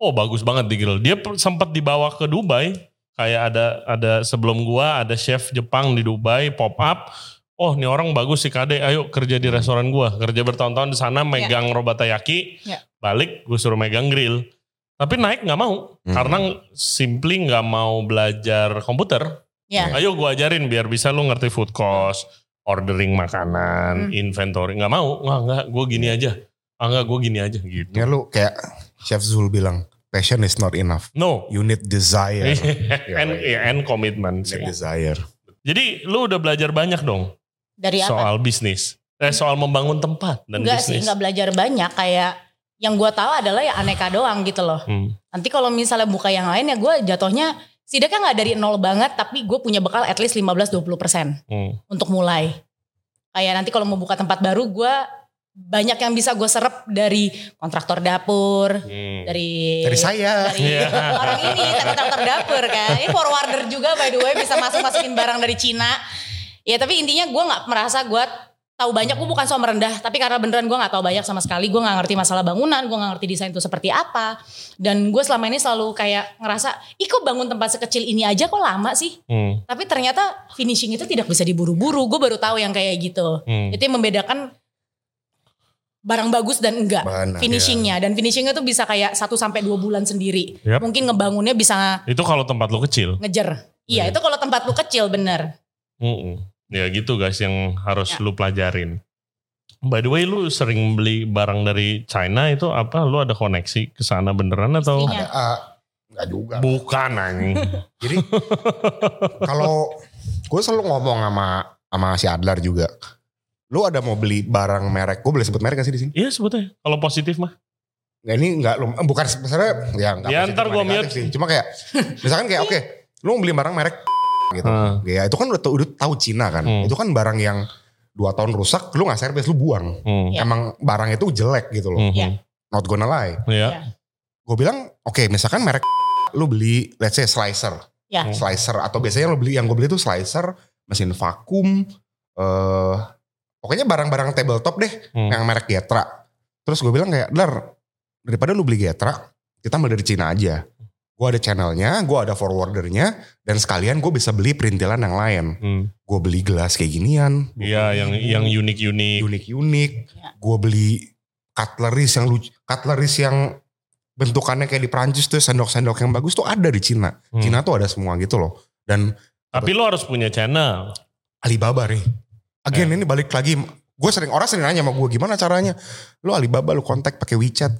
Speaker 2: Oh bagus banget di grill. Dia per- sempat dibawa ke Dubai. Kayak ada ada sebelum gua ada chef Jepang di Dubai pop up. oh nih orang bagus si Kade, ayo kerja di restoran gua, kerja bertahun-tahun di sana megang robatayaki,
Speaker 3: Iya.
Speaker 2: balik gue suruh megang grill. Tapi naik nggak mau
Speaker 1: Hmm.
Speaker 2: karena simply nggak mau belajar komputer.
Speaker 3: Iya.
Speaker 2: Ayo gua ajarin biar bisa lu ngerti food cost, ordering makanan,
Speaker 3: Hmm.
Speaker 2: inventory. Nggak mau, nggak nggak, gue gini aja. Ah nggak, gue gini aja gitu.
Speaker 1: Ya lu kayak Chef Zul bilang, passion is not enough.
Speaker 2: No.
Speaker 1: You need desire.
Speaker 2: and,
Speaker 1: Iya.
Speaker 2: and
Speaker 1: You
Speaker 2: commitment sih.
Speaker 1: need desire.
Speaker 2: Jadi lu udah belajar banyak dong
Speaker 3: Dari Iya, apa?
Speaker 2: soal bisnis. Eh soal membangun tempat dan
Speaker 3: Enggak sih,
Speaker 2: bisnis.
Speaker 3: enggak belajar banyak kayak yang gue tahu adalah ya aneka doang gitu loh.
Speaker 2: Hmm.
Speaker 3: Nanti kalau misalnya buka yang lain ya gue jatuhnya Sidaknya nggak dari nol banget tapi gue punya bekal at least 15-20%
Speaker 2: Hmm.
Speaker 3: untuk mulai. Kayak nanti kalau mau buka tempat baru gue banyak yang bisa gue serap dari kontraktor dapur,
Speaker 2: Hmm.
Speaker 3: dari
Speaker 1: Dari saya.
Speaker 3: dari
Speaker 2: Iya.
Speaker 3: orang ini kontraktor dapur kan. Ini forwarder juga by the way bisa masuk-masukin barang dari Cina. Ya tapi intinya gue nggak merasa gue tahu banyak gue bukan soal merendah tapi karena beneran gue nggak tahu banyak sama sekali gue nggak ngerti masalah bangunan gue nggak ngerti desain itu seperti apa dan gue selama ini selalu kayak ngerasa ih kok bangun tempat sekecil ini aja kok lama sih
Speaker 2: Hmm.
Speaker 3: tapi ternyata finishing itu tidak bisa diburu-buru gue baru tahu yang kayak gitu
Speaker 2: Hmm.
Speaker 3: itu yang membedakan barang bagus dan enggak
Speaker 1: Benar.
Speaker 3: finishingnya
Speaker 1: iya.
Speaker 3: dan finishingnya tuh bisa kayak 1 sampai 2 bulan sendiri.
Speaker 2: Yap.
Speaker 3: Mungkin ngebangunnya bisa
Speaker 2: Itu kalau tempat lu kecil.
Speaker 3: ngejer. Iya,
Speaker 2: Hmm.
Speaker 3: itu kalau tempat lu kecil bener.
Speaker 2: Mm-mm. Ya gitu guys yang harus
Speaker 3: Ya.
Speaker 2: lu pelajarin. By the way lu sering beli barang dari China itu apa? Lu ada koneksi ke sana beneran atau?
Speaker 3: Iya.
Speaker 1: Ada, ah, enggak juga.
Speaker 2: Bukan anjing.
Speaker 1: Jadi kalau gue selalu ngomong sama sama si Adlar juga. Lu ada mau beli barang merek, gue boleh sebut merek gak sih di sini?
Speaker 2: Iya sebetulnya. Kalau positif mah.
Speaker 1: Nah, ini enggak, lum- bukan sebenarnya ya enggak.
Speaker 2: Ya,
Speaker 1: positif
Speaker 2: ntar
Speaker 1: sama
Speaker 2: gua
Speaker 1: negatif
Speaker 2: mute.
Speaker 1: Sih. Cuma kayak, misalkan kayak oke, lu mau beli barang merek gitu.
Speaker 2: Ah.
Speaker 1: Ya itu kan udah, tau- udah tahu Cina kan.
Speaker 2: Hmm.
Speaker 1: Itu kan barang yang dua tahun rusak, lu nggak servis, lu buang.
Speaker 2: Hmm.
Speaker 3: Ya.
Speaker 1: Emang barang itu jelek gitu loh.
Speaker 2: Mhm.
Speaker 3: Ya.
Speaker 1: Not gonna lie.
Speaker 2: Ya.
Speaker 1: Gue bilang, oke misalkan merek lu beli let's say slicer.
Speaker 3: Ya.
Speaker 2: Hmm.
Speaker 1: Slicer atau biasanya lo beli yang gue beli itu slicer, mesin vakum, eh pokoknya barang-barang tabletop deh
Speaker 2: Hmm.
Speaker 1: yang merek Getra. Terus gue bilang kayak, Dar, daripada lu beli Getra, kita beli dari Cina aja. Gue ada channelnya, gue ada forwardernya, dan sekalian gue bisa beli perintilan yang lain.
Speaker 2: Hmm.
Speaker 1: Gue beli gelas kayak ginian.
Speaker 2: Iya yang yang unik-unik.
Speaker 1: unik-unik.
Speaker 3: Ya.
Speaker 1: Gue beli cutleries yang lucu, cutleries yang bentukannya kayak di Prancis tuh sendok-sendok yang bagus tuh ada di Cina.
Speaker 2: Hmm.
Speaker 1: Cina tuh ada semua gitu loh. Dan
Speaker 2: Tapi lu harus punya channel.
Speaker 1: Alibaba nih. Again ini balik lagi. Gue sering orang sering nanya sama gue gimana caranya. Lu Alibaba lu kontak pakai WeChat.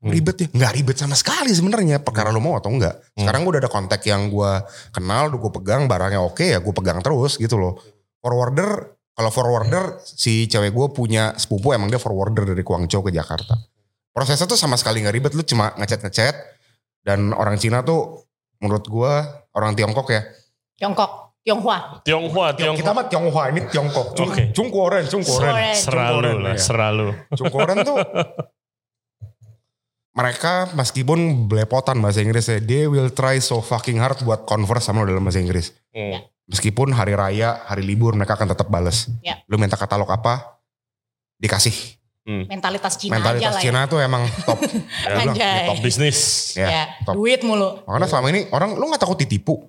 Speaker 2: Hmm.
Speaker 1: Ribet ya? Nggak ribet sama sekali sebenarnya. Perkara lu mau atau enggak. Sekarang gue udah ada kontak yang gue kenal. Gue pegang barangnya oke ya gue pegang terus gitu loh. Forwarder. Kalau forwarder si cewek gue punya sepupu emang dia forwarder dari Guangzhou ke Jakarta. Prosesnya tuh sama sekali nggak ribet. Lu cuma ngechat-ngechat. Dan orang Cina tuh menurut gue orang Tiongkok ya.
Speaker 3: Tiongkok, Tionghoa.
Speaker 2: Tionghoa,
Speaker 1: Kita
Speaker 2: Tionghoa.
Speaker 1: mah Tionghoa ini Tiongkok. Cung,
Speaker 2: Oke.
Speaker 1: Cungkoren, Cungkoren.
Speaker 2: Seralu
Speaker 3: Sore.
Speaker 1: Cungkoren,
Speaker 2: lah,
Speaker 1: iya.
Speaker 2: seralu.
Speaker 1: Cungkoren tuh mereka meskipun belepotan bahasa Inggrisnya, they will try so fucking hard buat converse sama lo dalam bahasa Inggris.
Speaker 2: Hmm.
Speaker 1: Meskipun hari raya, hari libur mereka akan tetap bales.
Speaker 3: Ya.
Speaker 1: Lu minta katalog apa? Dikasih.
Speaker 2: Hmm.
Speaker 1: Iya.
Speaker 3: Mentalitas Cina
Speaker 1: Mentalitas
Speaker 3: aja lah. ya.
Speaker 1: Cina tuh emang top.
Speaker 2: Ya,
Speaker 1: Bilang,
Speaker 3: Anjay.
Speaker 2: Top bisnis.
Speaker 1: Ya,
Speaker 3: Ya,
Speaker 1: top.
Speaker 3: duit mulu.
Speaker 1: Makanya selama ini orang lu nggak takut ditipu.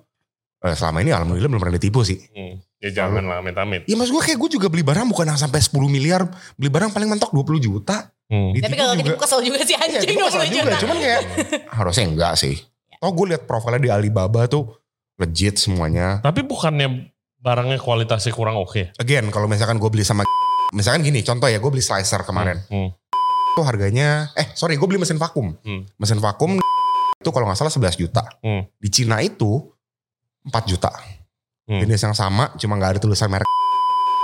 Speaker 1: Eh, selama ini alhamdulillah belum pernah ditipu sih.
Speaker 2: Hmm. Ya jangan lah amit-amit.
Speaker 1: Iya mas gue kayak gue juga beli barang bukan yang sampai 10 miliar. Beli barang paling mentok 20 juta.
Speaker 2: Hmm.
Speaker 1: Ditipu
Speaker 3: Tapi
Speaker 1: Gitu
Speaker 3: kalau
Speaker 1: juga.
Speaker 3: ditipu kesel juga sih
Speaker 1: Iya,
Speaker 3: anjing
Speaker 1: ditipu kesel
Speaker 3: 20
Speaker 1: juga,
Speaker 3: juta. Iya.
Speaker 1: Cuman kayak harusnya enggak sih. Toh gue liat profilnya di Alibaba tuh legit semuanya.
Speaker 2: Tapi bukannya barangnya kualitasnya kurang oke?
Speaker 1: Again kalau misalkan gue beli sama misalkan gini contoh ya gue beli slicer kemarin
Speaker 2: Hmm.
Speaker 1: tuh harganya eh sorry gue beli mesin vakum
Speaker 2: Hmm.
Speaker 1: mesin vakum itu kalau nggak salah 11 juta
Speaker 2: Hmm.
Speaker 1: di Cina itu 4 juta
Speaker 2: Hmm.
Speaker 1: jenis yang sama cuma nggak ada tulisan merek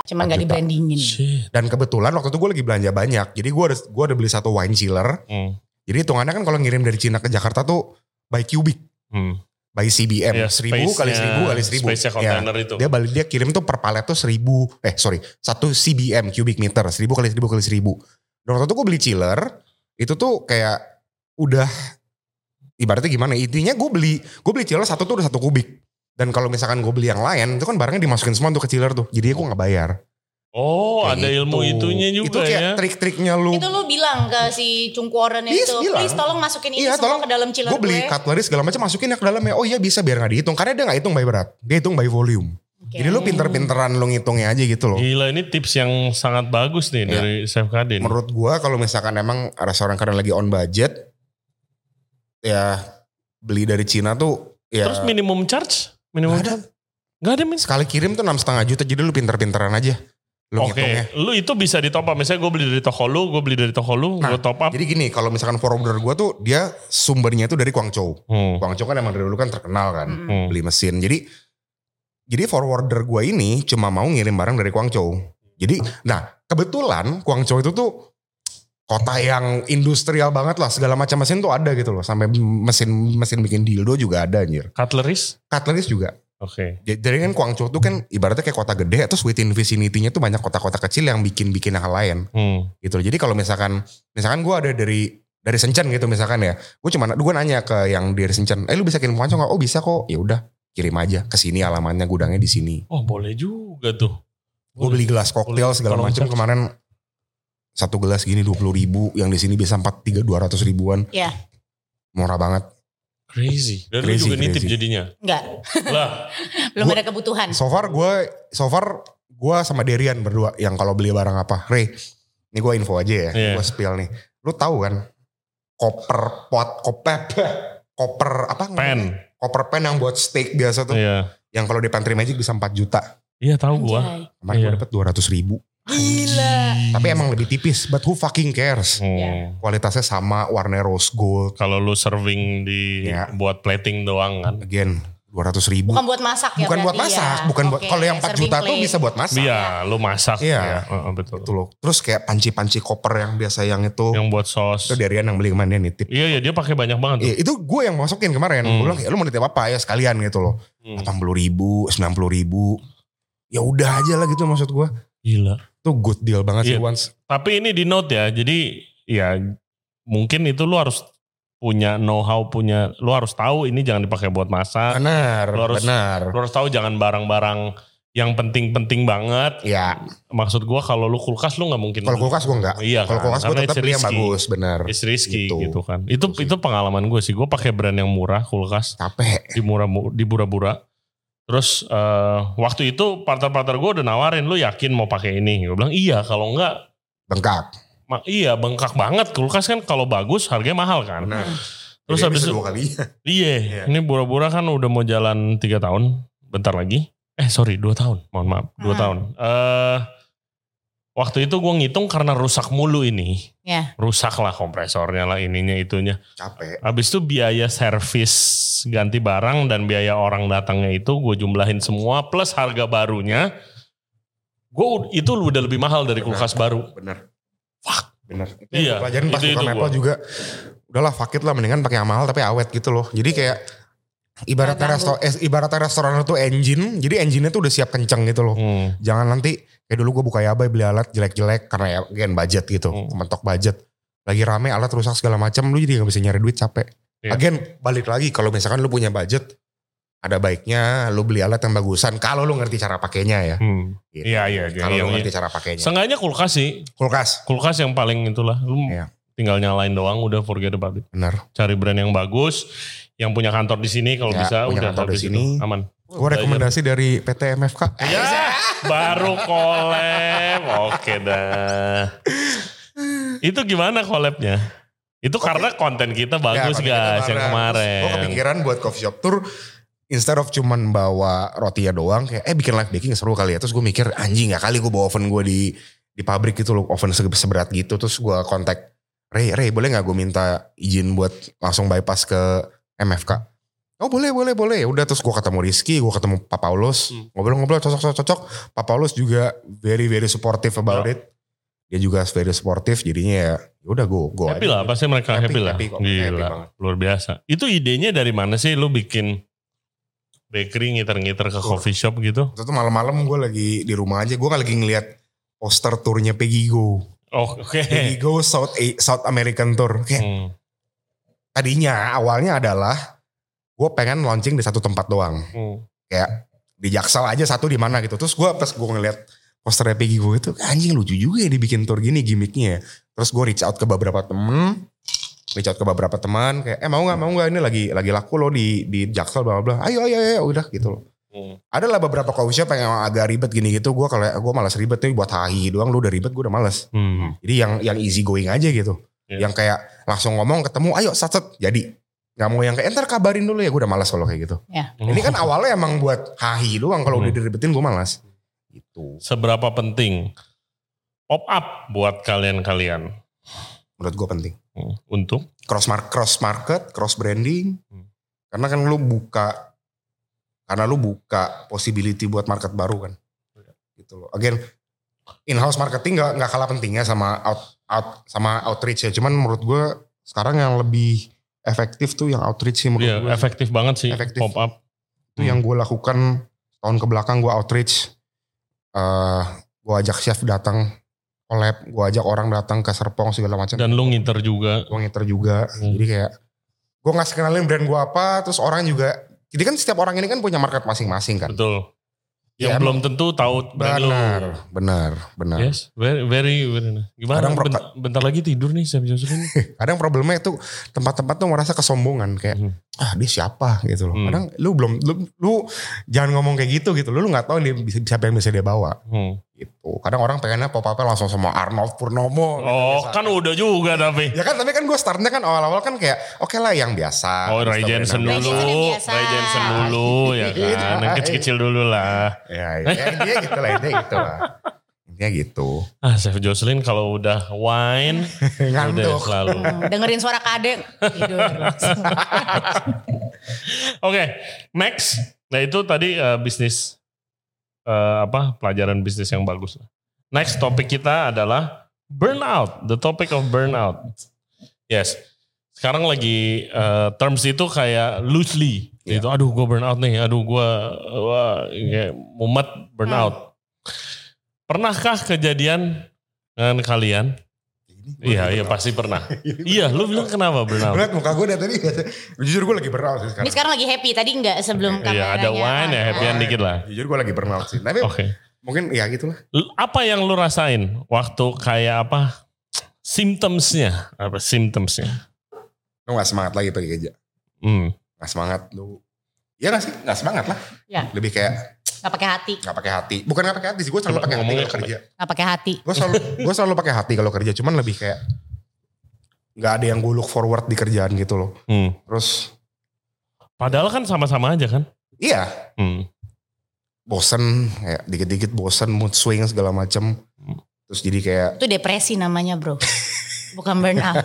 Speaker 3: Cuman
Speaker 1: Juta.
Speaker 3: gak
Speaker 1: Iya.
Speaker 3: dibrandingin.
Speaker 2: Shit.
Speaker 1: dan kebetulan waktu itu gue lagi belanja banyak jadi gue ada gue ada beli satu wine chiller
Speaker 2: Hmm.
Speaker 1: jadi hitungannya kan kalau ngirim dari Cina ke Jakarta tuh by cubic
Speaker 2: Hmm.
Speaker 1: by CBM
Speaker 2: Ya,
Speaker 1: seribu kali
Speaker 2: space-nya-
Speaker 1: seribu kali seribu
Speaker 2: space-nya
Speaker 1: Ya.
Speaker 2: kontainer itu.
Speaker 1: Dia balik dia kirim tuh per palet tuh seribu, eh sorry, satu CBM cubic meter, seribu kali seribu kali seribu. Dan waktu itu gue beli chiller, itu tuh kayak udah ibaratnya gimana? ya, Intinya gue beli, gue beli chiller satu tuh udah satu kubik. Dan kalau misalkan gue beli yang lain, itu kan barangnya dimasukin semua tuh ke chiller tuh. Jadi gue nggak bayar.
Speaker 2: Oh,
Speaker 1: Kayak
Speaker 2: ada ilmu
Speaker 1: gitu.
Speaker 2: itunya juga
Speaker 1: Itu kayak
Speaker 2: ya.
Speaker 1: trik-triknya lu.
Speaker 3: Itu lu bilang ke si Cungkuoren
Speaker 1: Iya,
Speaker 3: itu,
Speaker 1: bilang.
Speaker 3: please tolong masukin ini
Speaker 1: Iya,
Speaker 3: semua
Speaker 1: tolong.
Speaker 3: ke dalam chiller
Speaker 1: Gue beli cutlery segala macam masukin ya ke dalam ya. Oh iya bisa biar nggak dihitung. Karena dia nggak hitung by berat. Dia hitung by volume. Jadi lu pinter-pinteran lu ngitungnya aja gitu loh.
Speaker 2: Gila ini tips yang sangat bagus nih
Speaker 1: Iya.
Speaker 2: dari Chef Kadin.
Speaker 1: Menurut gua kalau misalkan emang restoran karena lagi on budget ya beli dari Cina tuh ya
Speaker 2: Terus minimum charge? Minimum
Speaker 1: Nggak ada.
Speaker 2: charge? Gak ada min.
Speaker 1: sekali kirim tuh enam setengah juta jadi lu pinter-pinteran aja lu ya.
Speaker 2: Oke,
Speaker 1: ngitungnya.
Speaker 2: lu itu bisa di top up. Misalnya gue beli dari toko lu, gue beli dari toko lu,
Speaker 1: Nah,
Speaker 2: gue top up.
Speaker 1: Jadi gini kalau misalkan forwarder gua tuh dia sumbernya tuh dari Guangzhou.
Speaker 2: Hmm.
Speaker 1: Guangzhou kan emang dari dulu kan terkenal kan
Speaker 3: Mm-mm.
Speaker 2: Hmm.
Speaker 1: beli mesin. Jadi jadi forwarder gua ini cuma mau ngirim barang dari Guangzhou. Jadi nah kebetulan Guangzhou itu tuh kota yang industrial banget lah segala macam mesin tuh ada gitu loh sampai mesin mesin bikin dildo juga ada anjir.
Speaker 2: Cutleries?
Speaker 1: Cutleries juga.
Speaker 2: Oke.
Speaker 1: Jadi jadi kan Guangzhou tuh kan ibaratnya kayak kota gede terus within vicinity-nya tuh banyak kota-kota kecil yang bikin-bikin hal lain
Speaker 2: Hmm.
Speaker 1: gitu. Jadi kalau misalkan misalkan gua ada dari dari Senchen gitu misalkan ya, gue cuma gue nanya ke yang dari Senchen, eh lu bisa kirim ke Guangzhou nggak? Oh bisa kok, ya udah kirim aja ke sini alamannya gudangnya di sini.
Speaker 2: Oh boleh juga tuh.
Speaker 1: Gue beli gelas koktail
Speaker 2: Boleh.
Speaker 1: segala
Speaker 2: Kalau
Speaker 1: macam
Speaker 2: bisa.
Speaker 1: kemarin satu gelas gini dua puluh ribu, yang di sini bisa empat tiga dua ratus ribuan.
Speaker 3: Iya.
Speaker 1: Murah banget.
Speaker 2: Crazy. Dan
Speaker 1: Crazy,
Speaker 2: lu juga nitip
Speaker 1: crazy.
Speaker 2: jadinya.
Speaker 3: Enggak,
Speaker 2: lah,
Speaker 3: belum
Speaker 1: Gua-
Speaker 3: ada kebutuhan.
Speaker 1: So far gue so far gue sama Derian berdua yang kalau beli barang apa, Rey, ini gue info aja ya,
Speaker 2: Iya.
Speaker 1: gue spill nih. Lu tahu kan koper pot koper koper apa
Speaker 2: pen.
Speaker 1: koper pen yang buat steak biasa tuh.
Speaker 2: Iya.
Speaker 1: Yang kalau di Pantry Magic bisa 4 juta.
Speaker 2: Iya tahu gua.
Speaker 3: Anjay.
Speaker 1: Kemarin
Speaker 2: Iya.
Speaker 1: gue dapet 200 ribu.
Speaker 3: Gila.
Speaker 1: Tapi emang lebih tipis. But who fucking cares?
Speaker 2: Hmm.
Speaker 3: Ya.
Speaker 1: Kualitasnya sama, warnanya rose gold.
Speaker 2: Kalau lu serving di
Speaker 1: Iya.
Speaker 2: buat plating doang kan.
Speaker 1: Again, 200 ribu.
Speaker 3: Bukan
Speaker 1: Bukan,
Speaker 3: buat masak ya
Speaker 1: buat
Speaker 3: berarti ya.
Speaker 1: masak. Bukan buat,
Speaker 3: Oke,
Speaker 1: kalau yang 4
Speaker 3: serving
Speaker 1: juta tuh
Speaker 3: plate.
Speaker 1: bisa buat masak.
Speaker 2: Iya, lu masak.
Speaker 1: Iya.
Speaker 2: Heeh, betul.
Speaker 1: Gitu loh. Terus kayak panci-panci koper yang biasa yang itu.
Speaker 2: Yang buat sos.
Speaker 1: Itu Derian yang beli kemarin dia nitip.
Speaker 2: Iya, iya dia pakai banyak banget. tuh.
Speaker 1: Iya, itu gue yang masukin kemarin.
Speaker 2: Hmm.
Speaker 1: Gue bilang, ya lu mau nitip apa ya sekalian gitu loh.
Speaker 2: Hmm.
Speaker 1: 80 ribu, 90 ribu. Ya udah aja lah gitu maksud gue.
Speaker 2: Gila.
Speaker 1: Itu good deal banget sih
Speaker 2: Iya.
Speaker 1: once.
Speaker 2: Tapi ini di note ya. Jadi ya mungkin itu lu harus punya know how, punya lu harus tahu ini jangan dipakai buat masak.
Speaker 1: Benar,
Speaker 2: Ah. Lu harus-
Speaker 1: benar.
Speaker 2: Lu harus tahu jangan barang-barang yang penting-penting banget.
Speaker 1: Ya,
Speaker 2: Maksud gua kalau lu kulkas lu nggak mungkin.
Speaker 1: Kalau kulkas gue enggak.
Speaker 2: Iya.
Speaker 1: Kalau
Speaker 2: kan,
Speaker 1: kulkas gue
Speaker 2: karena
Speaker 1: tetap
Speaker 2: it's
Speaker 1: beli yang
Speaker 2: risky.
Speaker 1: bagus, benar.
Speaker 2: It's risky
Speaker 1: Gitu.
Speaker 2: gitu, kan. Itu
Speaker 1: Gitu sih.
Speaker 2: itu pengalaman gue sih. Gue pakai brand yang murah kulkas
Speaker 1: Capek.
Speaker 2: di murah di bura-bura. Terus eh, waktu itu partner-partner gue udah nawarin lu yakin mau pakai ini. Gue bilang iya kalau enggak
Speaker 1: Bengkak.
Speaker 2: ma- iya bengkak banget kulkas kan kalau bagus harganya mahal kan.
Speaker 1: Benar.
Speaker 2: Terus
Speaker 1: Jadi
Speaker 2: habis
Speaker 1: bisa
Speaker 2: itu
Speaker 1: dua kali.
Speaker 2: iya
Speaker 1: Iya.
Speaker 2: ini bura-bura kan udah mau jalan tiga tahun bentar lagi. Eh sorry dua tahun mohon maaf dua
Speaker 3: Hmm.
Speaker 2: tahun. eh waktu itu gue ngitung karena rusak mulu ini.
Speaker 3: Iya.
Speaker 2: Rusak lah kompresornya lah ininya itunya.
Speaker 1: Capek.
Speaker 2: Habis itu biaya servis ganti barang dan biaya orang datangnya itu gue jumlahin semua plus harga barunya. Gue itu udah lebih mahal dari kulkas baru.
Speaker 1: Benar.
Speaker 2: Fuck.
Speaker 1: Benar. Itu yang
Speaker 2: Iya,
Speaker 1: Pelajarin pas
Speaker 2: itu-
Speaker 1: buka
Speaker 2: itu
Speaker 1: Apple
Speaker 2: gua.
Speaker 1: juga. Udahlah fuck it lah mendingan pakai yang mahal tapi awet gitu loh. Jadi kayak ibaratnya
Speaker 3: Nggak
Speaker 1: resto eh, ibaratnya restoran itu engine, jadi engine-nya tuh udah siap kenceng gitu loh.
Speaker 2: Hmm.
Speaker 1: Jangan nanti kayak dulu gue buka yabai beli alat jelek-jelek karena ya again budget gitu,
Speaker 2: Hmm.
Speaker 1: mentok budget. Lagi rame alat rusak segala macam, lu jadi gak bisa nyari duit capek.
Speaker 2: Iya.
Speaker 1: Again balik lagi kalau misalkan lu punya budget, ada baiknya lu beli alat yang bagusan kalau lu ngerti cara pakainya ya.
Speaker 2: Hmm.
Speaker 1: Gitu.
Speaker 2: Iya, iya, iya,
Speaker 1: Kalau
Speaker 2: iya,
Speaker 1: lu
Speaker 2: iya.
Speaker 1: ngerti cara pakainya.
Speaker 2: Seenggaknya kulkas sih,
Speaker 1: Kulkas,
Speaker 2: kulkas yang paling itulah. Lu
Speaker 1: Iya.
Speaker 2: tinggal nyalain doang, udah forget about it.
Speaker 1: benar.
Speaker 2: Cari brand yang bagus, yang punya kantor di sini kalau
Speaker 1: Ya,
Speaker 2: bisa
Speaker 1: punya
Speaker 2: udah
Speaker 1: kantor di
Speaker 2: habis
Speaker 1: sini.
Speaker 2: itu aman.
Speaker 1: Gue rekomendasi dari PT MFK.
Speaker 2: Ya, baru collab. Oke dah. Itu gimana collabnya? Itu karena konten
Speaker 1: Ya, Iya,
Speaker 2: kita bagus guys yang kemarin.
Speaker 1: Gue kepikiran buat coffee shop tour. Instead of cuman bawa rotinya doang kayak eh bikin live baking seru kali ya. Terus gue mikir anjing gak kali gue bawa oven gue di di pabrik gitu loh oven se- seberat gitu. Terus gue kontak Ray, Ray boleh gak gue minta izin buat langsung bypass ke MFK? Oh boleh boleh boleh. Udah terus gue ketemu Rizky, gue ketemu Pak Paulus.
Speaker 2: Hmm.
Speaker 1: Ngobrol-ngobrol cocok-cocok. Pak Paulus juga very very supportive about
Speaker 2: Ya.
Speaker 1: it. Dia juga very supportive jadinya ya udah go go aja.
Speaker 2: Happy
Speaker 1: gitu.
Speaker 2: lah, pasti mereka happy,
Speaker 1: Happy,
Speaker 2: lah.
Speaker 1: happy kok,
Speaker 2: Gila,
Speaker 1: happy banget.
Speaker 2: luar biasa. Itu idenya dari mana sih lu bikin bakery ngiter-ngiter ke
Speaker 1: Tur.
Speaker 2: coffee shop gitu?
Speaker 1: Waktu itu malam-malam gue lagi di rumah aja, gue lagi ngeliat poster turnya Peggy Go.
Speaker 2: Oh, Oke.
Speaker 1: Peggy Go South, A- South American Tour. Kayak
Speaker 2: Hmm,
Speaker 1: tadinya awalnya adalah gue pengen launching di satu tempat doang.
Speaker 2: hmm.
Speaker 1: Kayak di Jaksel aja satu di mana gitu. Terus gue pas gue ngeliat posternya Peggy Go itu anjing lucu juga ya dibikin tour gini gimmicknya ya. Terus gue reach out ke beberapa temen reach out ke beberapa teman kayak eh mau nggak mau nggak ini lagi lagi laku loh di di Jaksel bla bla bla. ayo ayo ayo udah gitu loh
Speaker 2: Hmm.
Speaker 1: Ada lah beberapa coffee shop yang emang agak ribet gini gitu. Gue kalau gue malas ribet nih buat hahi doang. Lu udah ribet, gue udah malas.
Speaker 2: Hmm.
Speaker 1: Jadi yang yang easy going aja gitu.
Speaker 2: Iya.
Speaker 1: Yang kayak langsung ngomong ketemu, ayo sat sat. Jadi nggak mau yang kayak entar kabarin dulu ya. Gue udah malas kalau kayak gitu. Ini kan awalnya emang buat hahi doang. Kalau
Speaker 2: Hmm.
Speaker 1: udah diribetin gue malas. Gitu.
Speaker 2: seberapa penting pop up buat kalian-kalian
Speaker 1: Menurut gue penting.
Speaker 2: Hmm. untuk
Speaker 1: cross market, cross market, cross branding.
Speaker 2: Hmm.
Speaker 1: Karena kan lu buka karena lu buka possibility buat market baru kan.
Speaker 2: Iya.
Speaker 1: Gitu loh. Again in house marketing nggak nggak kalah pentingnya sama out, out sama outreach ya. Cuman menurut gue sekarang yang lebih efektif tuh yang outreach sih menurut
Speaker 2: Iya,
Speaker 1: gue.
Speaker 2: efektif banget sih
Speaker 1: Efektif.
Speaker 2: pop up
Speaker 1: Itu yang gue lakukan tahun ke belakang gue outreach eh gue ajak chef datang collab, gue ajak orang datang ke Serpong segala macam.
Speaker 2: dan lu nginter juga
Speaker 1: gue ngeter juga
Speaker 2: Hmm.
Speaker 1: jadi kayak gue ngasih kenalin brand gue apa terus orang juga jadi kan setiap orang ini kan punya market masing-masing kan
Speaker 2: betul yang
Speaker 1: Iya,
Speaker 2: belum tentu tahu brand lu
Speaker 1: benar benar benar
Speaker 2: yes very very, very nice. gimana
Speaker 1: Kadang
Speaker 2: bent- bentar lagi tidur nih Sam Jocelyn
Speaker 1: kadang problemnya itu tempat-tempat tuh merasa kesombongan kayak
Speaker 2: Hmm.
Speaker 1: ah dia siapa gitu loh
Speaker 2: Hmm.
Speaker 1: kadang lu belum lu, lu jangan ngomong kayak gitu gitu lu lu nggak tahu dia bisa siapa yang bisa dia bawa
Speaker 2: Hmm.
Speaker 1: gitu kadang orang pengennya pop up langsung sama Arnold Purnomo gitu,
Speaker 2: oh
Speaker 1: misalnya.
Speaker 2: kan udah juga tapi
Speaker 1: ya kan tapi kan gue startnya kan awal-awal kan kayak oke lah yang biasa
Speaker 2: Oh Ray
Speaker 1: Mr.
Speaker 2: Jensen
Speaker 1: Brandon.
Speaker 3: Ray
Speaker 2: dulu,
Speaker 3: Jensen yang biasa.
Speaker 2: Ray Jensen dulu ya
Speaker 1: Iya.
Speaker 2: kan, yang kecil-kecil dulu lah.
Speaker 1: Ya,
Speaker 2: Eh.
Speaker 1: ya intinya gitu lah, intinya gitu lah. Intinya gitu.
Speaker 2: Ah, Chef Jocelyn kalau udah wine, ya udah
Speaker 1: Ngantuk.
Speaker 2: selalu.
Speaker 3: Hmm, dengerin suara kadek tidur.
Speaker 2: Oke, next. Nah itu tadi eh, bisnis eh, apa pelajaran bisnis yang bagus. Next topik kita adalah burnout. The topic of burnout. Yes. Sekarang lagi eh, terms itu kayak loosely.
Speaker 1: Iya.
Speaker 2: Itu aduh gue burnout nih. Aduh gue wah, kayak mumet burnout. Pernahkah kejadian dengan kalian? Iya, iya pasti pernah. iya, lu bilang kenapa burnout?
Speaker 1: Lihat muka gue dari tadi, jujur gue lagi burnout sih
Speaker 3: Ini
Speaker 1: sekarang.
Speaker 3: sekarang lagi happy tadi nggak sebelum
Speaker 2: Iya,
Speaker 3: kameranya.
Speaker 2: ada wine ya,
Speaker 3: on.
Speaker 2: happy-an dikit lah.
Speaker 1: Jujur gue lagi burnout sih. Tapi
Speaker 2: Oke.
Speaker 1: mungkin ya gitulah.
Speaker 2: L- apa yang lu rasain waktu kayak apa symptomsnya apa symptomsnya
Speaker 1: Lu gak semangat lagi pergi kerja.
Speaker 2: hmm.
Speaker 1: Gak semangat lu. Iya gak sih? Gak semangat lah.
Speaker 3: Iya.
Speaker 1: Lebih kayak
Speaker 3: Nggak pakai hati,
Speaker 1: gak pakai hati. Bukan gak pakai hati sih. Gue selalu
Speaker 2: Coba
Speaker 1: pakai hati
Speaker 2: ngomongnya
Speaker 1: kalau kerja.
Speaker 3: nggak pakai hati.
Speaker 1: Gue selalu gue selalu pakai hati kalau kerja. Cuman lebih kayak nggak ada yang gue look forward di kerjaan gitu loh.
Speaker 2: Hmm.
Speaker 1: Terus
Speaker 2: padahal kan sama-sama aja kan
Speaker 1: iya
Speaker 2: hmm.
Speaker 1: bosen kayak dikit-dikit bosen mood swing segala macem
Speaker 2: Hmm.
Speaker 1: terus jadi kayak
Speaker 3: Itu depresi namanya bro. Bukan burnout,
Speaker 2: I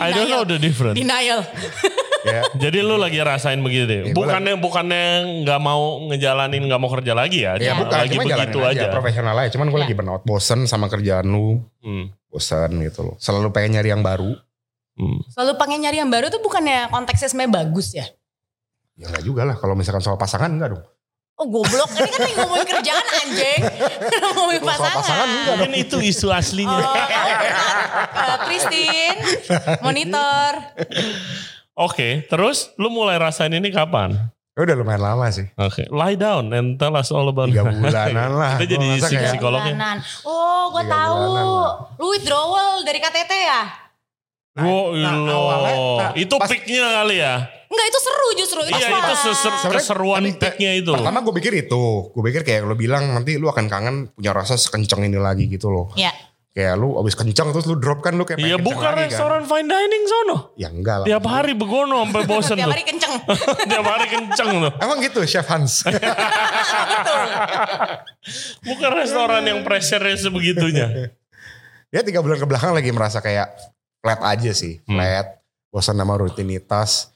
Speaker 1: Nah, iya.
Speaker 2: don't know the difference
Speaker 3: denial.
Speaker 1: ya
Speaker 2: jadi lu lagi rasain begitu deh
Speaker 1: Iya, gua
Speaker 2: bukannya bukannya nggak mau ngejalanin nggak mau kerja lagi ya,
Speaker 1: ya
Speaker 3: Iya,
Speaker 2: cuma
Speaker 1: bukan
Speaker 2: lagi
Speaker 1: cuma jalanin
Speaker 2: begitu aja,
Speaker 1: profesional aja cuman gue
Speaker 3: Iya.
Speaker 1: lagi burnout bosen sama kerjaan lu
Speaker 2: Hmm.
Speaker 1: bosen gitu loh selalu pengen nyari yang baru
Speaker 2: Hmm.
Speaker 3: Selalu pengen nyari yang baru tuh bukannya konteksnya sebenarnya bagus ya?
Speaker 1: ya enggak juga lah kalau misalkan soal pasangan enggak dong
Speaker 3: Oh goblok, ini kan lagi ngomongin kerjaan anjing. ngomongin
Speaker 1: Kalau soal
Speaker 3: pasangan.
Speaker 1: pasangan, enggak
Speaker 2: mungkin itu isu
Speaker 3: Oh,
Speaker 2: aslinya
Speaker 3: eh, Christine, monitor.
Speaker 1: Oh.
Speaker 2: oke terus lu mulai rasain ini kapan
Speaker 1: Ya udah lumayan lama sih
Speaker 2: oke lie down and tell us all about
Speaker 1: tiga bulanan lah
Speaker 2: Kita jadi
Speaker 1: Gua ngerasa kayak,
Speaker 2: sing- sing- Psikolognya.
Speaker 3: Iya. Bulanan. Oh, gue
Speaker 1: Tiga
Speaker 3: tahu.
Speaker 1: bulanan.
Speaker 3: Lu withdrawal dari KTT ya?
Speaker 2: Wow,
Speaker 1: Nah,
Speaker 2: lo.
Speaker 1: awalnya, nah,
Speaker 2: itu
Speaker 1: pas-
Speaker 2: peaknya kali ya?
Speaker 3: Enggak, itu seru justru. Itu
Speaker 2: Iya,
Speaker 3: fun.
Speaker 2: itu seser-
Speaker 1: Sebenarnya-
Speaker 2: keseruan
Speaker 1: tapi, eh,
Speaker 2: peaknya itu.
Speaker 1: pertama gue pikir itu gue pikir kayak lo bilang nanti lu akan kangen punya rasa sekenceng ini lagi gitu loh
Speaker 3: Ya,
Speaker 1: kayak lu abis kenceng terus lu drop kan lu kayak pengen
Speaker 2: Iya,
Speaker 1: kenceng
Speaker 2: bukan Iya,
Speaker 1: lagi
Speaker 2: restoran fine dining sono.
Speaker 1: kan ya enggak lah
Speaker 2: Tiap hari begono sampai bosen
Speaker 3: tiap
Speaker 2: tuh.
Speaker 3: hari kenceng.
Speaker 2: Tiap hari kenceng tuh.
Speaker 1: emang gitu chef Hans
Speaker 2: Bukan restoran yang pressure-nya sebegitunya.
Speaker 1: ya tiga bulan ke belakang lagi merasa kayak flat aja sih
Speaker 2: Hmm.
Speaker 1: flat bosan sama rutinitas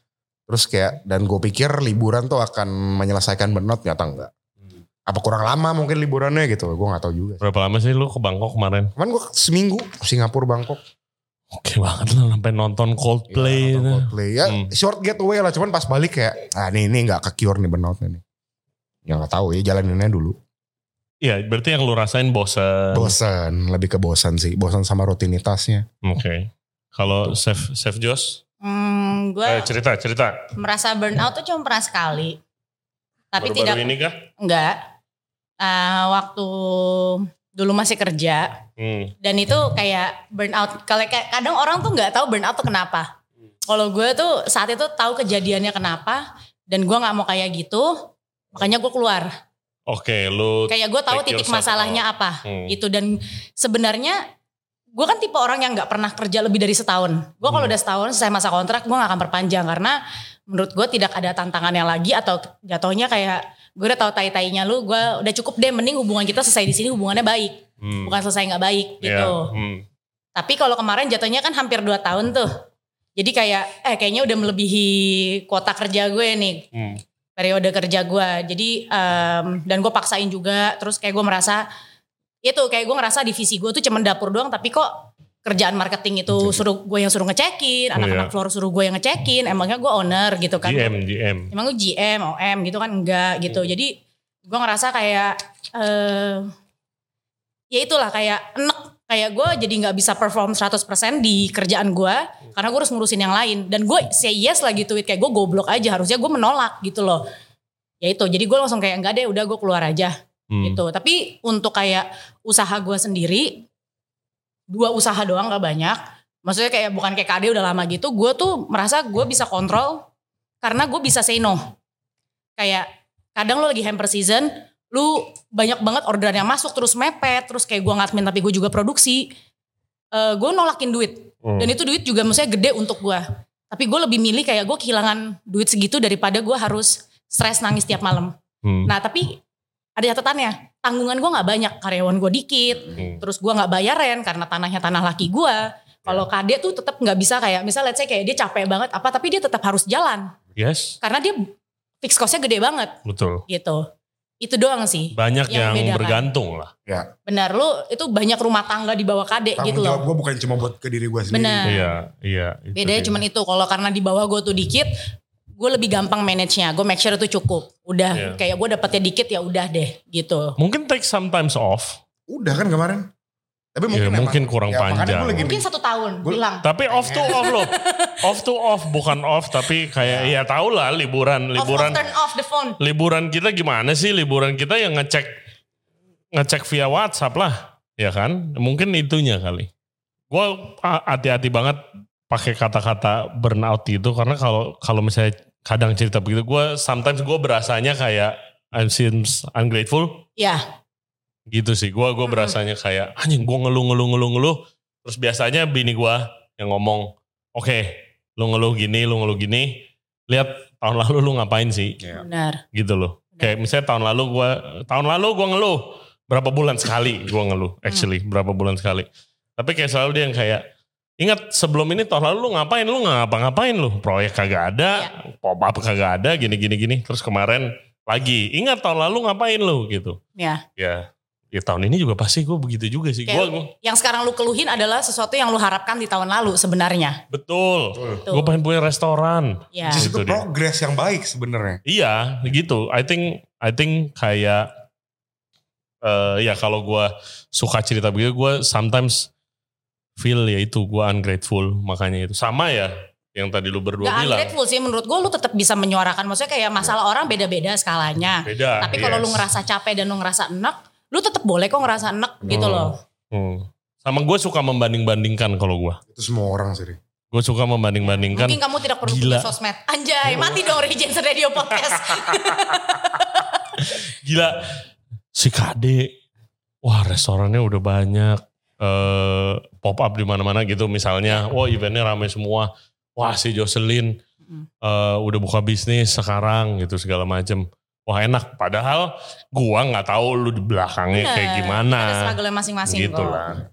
Speaker 1: terus kayak dan gue pikir liburan tuh akan menyelesaikan burnout nyata enggak
Speaker 2: Hmm.
Speaker 1: apa kurang lama mungkin liburannya gitu gue nggak tahu juga
Speaker 2: Berapa lama sih lu ke Bangkok kemarin?
Speaker 1: cuman gue seminggu Singapura Bangkok
Speaker 2: Oke banget lah sampai nonton
Speaker 1: Iya, nonton
Speaker 2: Coldplay. gitu.
Speaker 1: Coldplay. ya
Speaker 2: Hmm.
Speaker 1: short getaway lah cuman pas balik kayak ah ini ini nggak ke cure nih burnoutnya nih ya nggak tahu ya jalaninnya dulu
Speaker 2: Iya, berarti yang lu rasain bosen.
Speaker 1: bosan lebih ke bosan sih bosan sama rutinitasnya
Speaker 2: Oke. Kalau Chef Chef Jos,
Speaker 3: Hmm, gue
Speaker 2: eh, cerita cerita.
Speaker 3: merasa burnout tuh cuma pernah sekali.
Speaker 2: Baru-baru
Speaker 3: Tapi tidak,
Speaker 2: ini kah?
Speaker 3: enggak. Eh, waktu dulu masih kerja,
Speaker 2: Hmm.
Speaker 3: dan itu kayak burnout kalau kayak- kadang orang tuh nggak tahu burnout tuh kenapa kalau gue tuh saat itu tahu kejadiannya kenapa dan gue nggak mau kayak gitu makanya gue keluar
Speaker 2: Oke, lu
Speaker 3: kayak gue tahu
Speaker 2: Take
Speaker 3: titik
Speaker 2: yourself
Speaker 3: masalahnya apa
Speaker 2: Hmm.
Speaker 3: gitu dan sebenarnya gue kan tipe orang yang nggak pernah kerja lebih dari setahun gue
Speaker 2: Hmm.
Speaker 3: kalau udah setahun selesai masa kontrak gue nggak akan perpanjang karena menurut gue tidak ada tantangannya lagi atau jatuhnya kayak gue udah tahu tai tainya lu gue udah cukup deh mending hubungan kita selesai di sini hubungannya baik
Speaker 2: Hmm.
Speaker 3: bukan selesai nggak baik gitu
Speaker 2: Iya, hmm.
Speaker 3: tapi kalau kemarin jatuhnya kan hampir 2 tahun tuh jadi kayak eh kayaknya udah melebihi kuota kerja gue nih
Speaker 2: Hmm.
Speaker 3: periode kerja gue. Jadi em, dan gue paksain juga. Terus kayak gue merasa itu kayak gue ngerasa divisi gue tuh cuman dapur doang. Tapi kok kerjaan marketing itu suruh gue yang suruh ngecekin,
Speaker 2: Oh, iya.
Speaker 3: anak-anak floor suruh gue yang ngecekin. Emangnya gue owner gitu kan?
Speaker 2: GM, GM.
Speaker 3: Emang gue GM, OM gitu kan enggak gitu. Jadi gue ngerasa kayak eh ya itulah kayak enek kayak gue jadi nggak bisa perform 100% di kerjaan gue karena gue harus ngurusin yang lain dan gue say yes lagi tweet kayak gue goblok aja harusnya gue menolak gitu loh ya itu jadi gue langsung kayak enggak deh udah gue keluar aja
Speaker 2: Hmm.
Speaker 3: gitu tapi untuk kayak usaha gue sendiri dua usaha doang gak banyak maksudnya kayak bukan kayak KD udah lama gitu gue tuh merasa gue bisa kontrol karena gue bisa say no kayak kadang lo lagi hamper season lu banyak banget orderan yang masuk terus mepet terus kayak gue ngadmin tapi gue juga produksi Eh gue nolakin duit
Speaker 2: Hmm.
Speaker 3: dan itu duit juga maksudnya gede untuk gue tapi gue lebih milih kayak gue kehilangan duit segitu daripada gue harus stres nangis tiap malam
Speaker 2: Hmm.
Speaker 3: Nah tapi ada catatannya, tanggungan gue nggak banyak, karyawan gue dikit,
Speaker 2: Hmm.
Speaker 3: terus gue nggak bayaran karena tanahnya tanah laki gue. Kalau KD tuh tetap nggak bisa kayak, misalnya let's say kayak dia capek banget apa, tapi dia tetap harus jalan
Speaker 2: Yes,
Speaker 3: karena dia fix costnya gede banget
Speaker 2: betul.
Speaker 3: gitu. Itu doang sih.
Speaker 2: Banyak yang,
Speaker 3: Yang beda, kan?
Speaker 2: bergantung lah.
Speaker 1: Ya,
Speaker 3: Benar lu itu banyak rumah tangga di bawah KD
Speaker 1: tanggung
Speaker 3: gitu
Speaker 1: jawab
Speaker 3: loh.
Speaker 1: gue bukan cuma buat ke diri gue sendiri.
Speaker 3: Benar.
Speaker 2: Iya, iya. itu
Speaker 3: Nah, Bedanya
Speaker 2: dia.
Speaker 3: cuman itu kalau karena di bawah gue tuh dikit, gue lebih gampang manage-nya. Gue make sure itu cukup. Udah
Speaker 2: Iya.
Speaker 3: kayak gue dapetnya dikit ya udah deh gitu.
Speaker 2: Mungkin take sometimes off.
Speaker 1: Udah kan kemarin. Tapi mungkin,
Speaker 2: Mungkin,
Speaker 1: emang-
Speaker 2: mungkin kurang
Speaker 1: Ya, makanya
Speaker 2: panjang.
Speaker 1: gua lagi-
Speaker 3: Mungkin satu tahun
Speaker 1: Gua-
Speaker 3: hilang.
Speaker 2: Tapi off to off loh. off to off bukan off tapi kayak ya tau lah liburan
Speaker 3: Off, off,
Speaker 2: liburan
Speaker 3: turn off the phone.
Speaker 2: liburan kita gimana sih? Liburan kita yang ngecek ngecek via WhatsApp lah, ya kan? Mungkin itunya kali. Gue hati-hati banget pakai kata-kata burnout itu karena kalau kalau misalnya kadang cerita begitu, gue sometimes gue berasanya kayak I'm seems ungrateful
Speaker 3: Ya.
Speaker 2: gitu sih. Gue gue
Speaker 3: Mm-mm.
Speaker 2: berasanya kayak anjing gue ngeluh ngeluh ngeluh ngeluh. Terus biasanya bini gue yang ngomong, oke, lu ngeluh gini, lu ngeluh gini. Lihat tahun lalu lu ngapain sih?
Speaker 1: Ya.
Speaker 3: Benar.
Speaker 2: gitu loh. Kayak misalnya tahun lalu gua tahun lalu gua ngeluh berapa bulan sekali gua ngeluh actually berapa bulan sekali. Tapi kayak selalu dia yang kayak ingat sebelum ini tahun lalu lu ngapain lu nggak ngapa-ngapain lu proyek kagak ada,
Speaker 3: Ya.
Speaker 2: pop up kagak ada gini gini gini terus kemarin lagi ingat tahun lalu ngapain lu gitu.
Speaker 3: Ya.
Speaker 2: Ya ya tahun ini juga pasti gue begitu juga sih. Gue
Speaker 3: Kayak- Yang sekarang lu keluhin adalah sesuatu yang lu harapkan di tahun lalu sebenarnya.
Speaker 2: betul.
Speaker 1: Betul.
Speaker 3: Tuh.
Speaker 2: Gue pengen punya restoran.
Speaker 3: Ya.
Speaker 1: Just Nah, itu
Speaker 2: Itu dia.
Speaker 1: progres yang baik sebenarnya.
Speaker 2: Iya, gitu. I think I think kayak eh ya kalau gua suka cerita begitu gua sometimes feel ya itu gua ungrateful makanya itu. Sama ya yang tadi lu berdua
Speaker 3: Gak
Speaker 2: bilang.
Speaker 3: ungrateful sih menurut gue lu tetap bisa menyuarakan. Maksudnya kayak masalah orang beda-beda skalanya.
Speaker 2: Beda.
Speaker 3: Tapi kalau
Speaker 2: Ya,
Speaker 3: lu
Speaker 2: yes.
Speaker 3: ngerasa capek dan lu ngerasa enak, lu tetap boleh kok ngerasa enak gitu
Speaker 2: Hmm.
Speaker 3: loh.
Speaker 2: Hmm. Sama gue suka membanding-bandingkan kalau gua.
Speaker 1: Itu semua orang sih. Ri.
Speaker 2: Gue suka membanding-bandingkan.
Speaker 3: Mungkin kamu tidak perlu
Speaker 2: Kan Gila.
Speaker 3: punya sosmed. Anjay, mati dong Regency Radio Podcast.
Speaker 2: Gila. Si Kade. Wah restorannya udah banyak. eh pop up di mana-mana gitu misalnya. Wah eventnya rame semua. Wah si Jocelyn
Speaker 3: Mm.
Speaker 2: eh, udah buka bisnis sekarang gitu segala macem. Wah enak. Padahal gua nggak tahu lu di belakangnya kayak
Speaker 3: Bener.
Speaker 2: gimana.
Speaker 3: Iya, Ada struggle masing-masing
Speaker 2: Gitu
Speaker 3: kok.
Speaker 2: lah.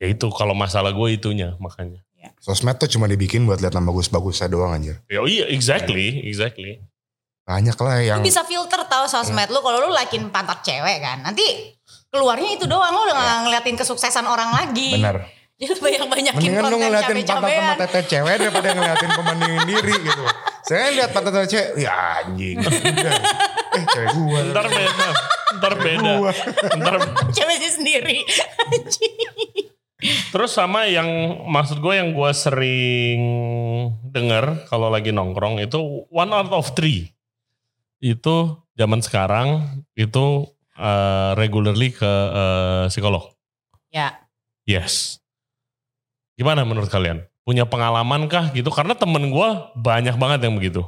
Speaker 2: Ya itu kalau masalah gue itunya makanya.
Speaker 1: Sosmed tuh cuma dibikin buat lihat nama gue bagusnya doang anjir.
Speaker 2: Ya iya exactly, exactly.
Speaker 1: Banyak lah yang
Speaker 3: Lu bisa filter tau sosmed lu kalau lu lakin pantat cewek kan. Nanti keluarnya itu doang lu udah
Speaker 2: Ya.
Speaker 3: nggak ngeliatin kesuksesan orang lagi.
Speaker 1: benar.
Speaker 3: Jadi banyak-banyakin
Speaker 1: Mendingan lu
Speaker 3: konten
Speaker 1: ngeliatin pantat sama
Speaker 3: cabe-cabean.
Speaker 1: tete cewek daripada ngeliatin pembandingin diri gitu. Saya lihat pantat tete cewek, ya anjing. Udah. eh cewek gue.
Speaker 2: Ntar beda, ntar beda,
Speaker 1: Gua.
Speaker 2: ntar
Speaker 3: Cewek sih sendiri.
Speaker 2: Terus sama yang maksud gue yang gue sering denger kalau lagi nongkrong itu one out of three itu zaman sekarang itu eh, regularly ke eh, psikolog.
Speaker 3: ya,
Speaker 2: Yes. Gimana menurut kalian? Punya pengalaman kah gitu? Karena temen gue banyak banget yang begitu.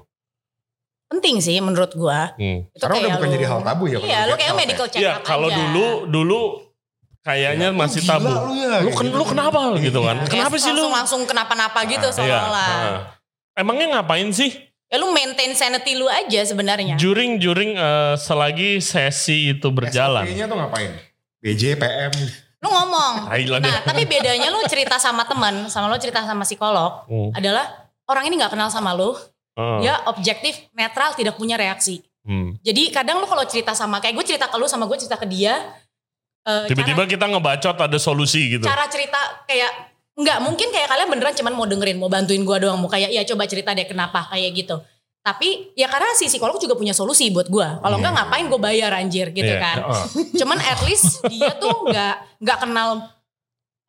Speaker 3: penting sih menurut gua.
Speaker 2: Hmm.
Speaker 3: Itu
Speaker 1: Karena udah
Speaker 3: kayak
Speaker 1: bukan
Speaker 3: lu-
Speaker 1: jadi hal tabu ya. kalau
Speaker 3: Iya, lu
Speaker 1: menurut
Speaker 3: kayak
Speaker 1: health
Speaker 3: medical check
Speaker 2: Iya,
Speaker 3: up
Speaker 2: kalau
Speaker 3: aja.
Speaker 2: dulu dulu kayaknya masih
Speaker 1: Iya. Gila
Speaker 2: tabu.
Speaker 1: Lu, ya,
Speaker 2: Lu
Speaker 1: kayak
Speaker 2: ken-
Speaker 1: gitu.
Speaker 2: lu kenapa gitu kan?
Speaker 3: Kayak
Speaker 2: Kenapa sih lu?
Speaker 3: langsung langsung kenapa-napa gitu
Speaker 2: Iya.
Speaker 3: seolah-olah.
Speaker 2: heeh. Emangnya ngapain sih?
Speaker 3: Ya lu maintain sanity lu aja sebenarnya.
Speaker 2: Juring juring eh, selagi sesi itu berjalan.
Speaker 1: SOP-nya tuh ngapain? BJPM.
Speaker 3: Lu ngomong.
Speaker 2: Thailand
Speaker 3: Nah,
Speaker 2: ya.
Speaker 3: tapi bedanya lu cerita sama teman, sama lu cerita sama psikolog
Speaker 2: Hmm.
Speaker 3: adalah orang ini nggak kenal sama lu,
Speaker 2: Oh. Heeh.
Speaker 3: dia objektif, netral, tidak punya reaksi.
Speaker 2: Hmm.
Speaker 3: Jadi kadang lu kalau cerita sama kayak gue cerita ke lu sama gue cerita ke dia eh,
Speaker 2: Tiba-tiba kita ngebacot ada solusi gitu.
Speaker 3: cara, cara cerita kayak nggak mungkin kayak kalian beneran cuman mau dengerin, mau bantuin gue doang, mau kayak ya coba cerita deh kenapa kayak gitu. Tapi ya karena si psikolog juga punya solusi buat gue. Kalau nggak ngapain gue bayar anjir gitu
Speaker 2: Iya.
Speaker 3: kan.
Speaker 2: Heeh.
Speaker 3: Cuman at least dia tuh nggak nggak kenal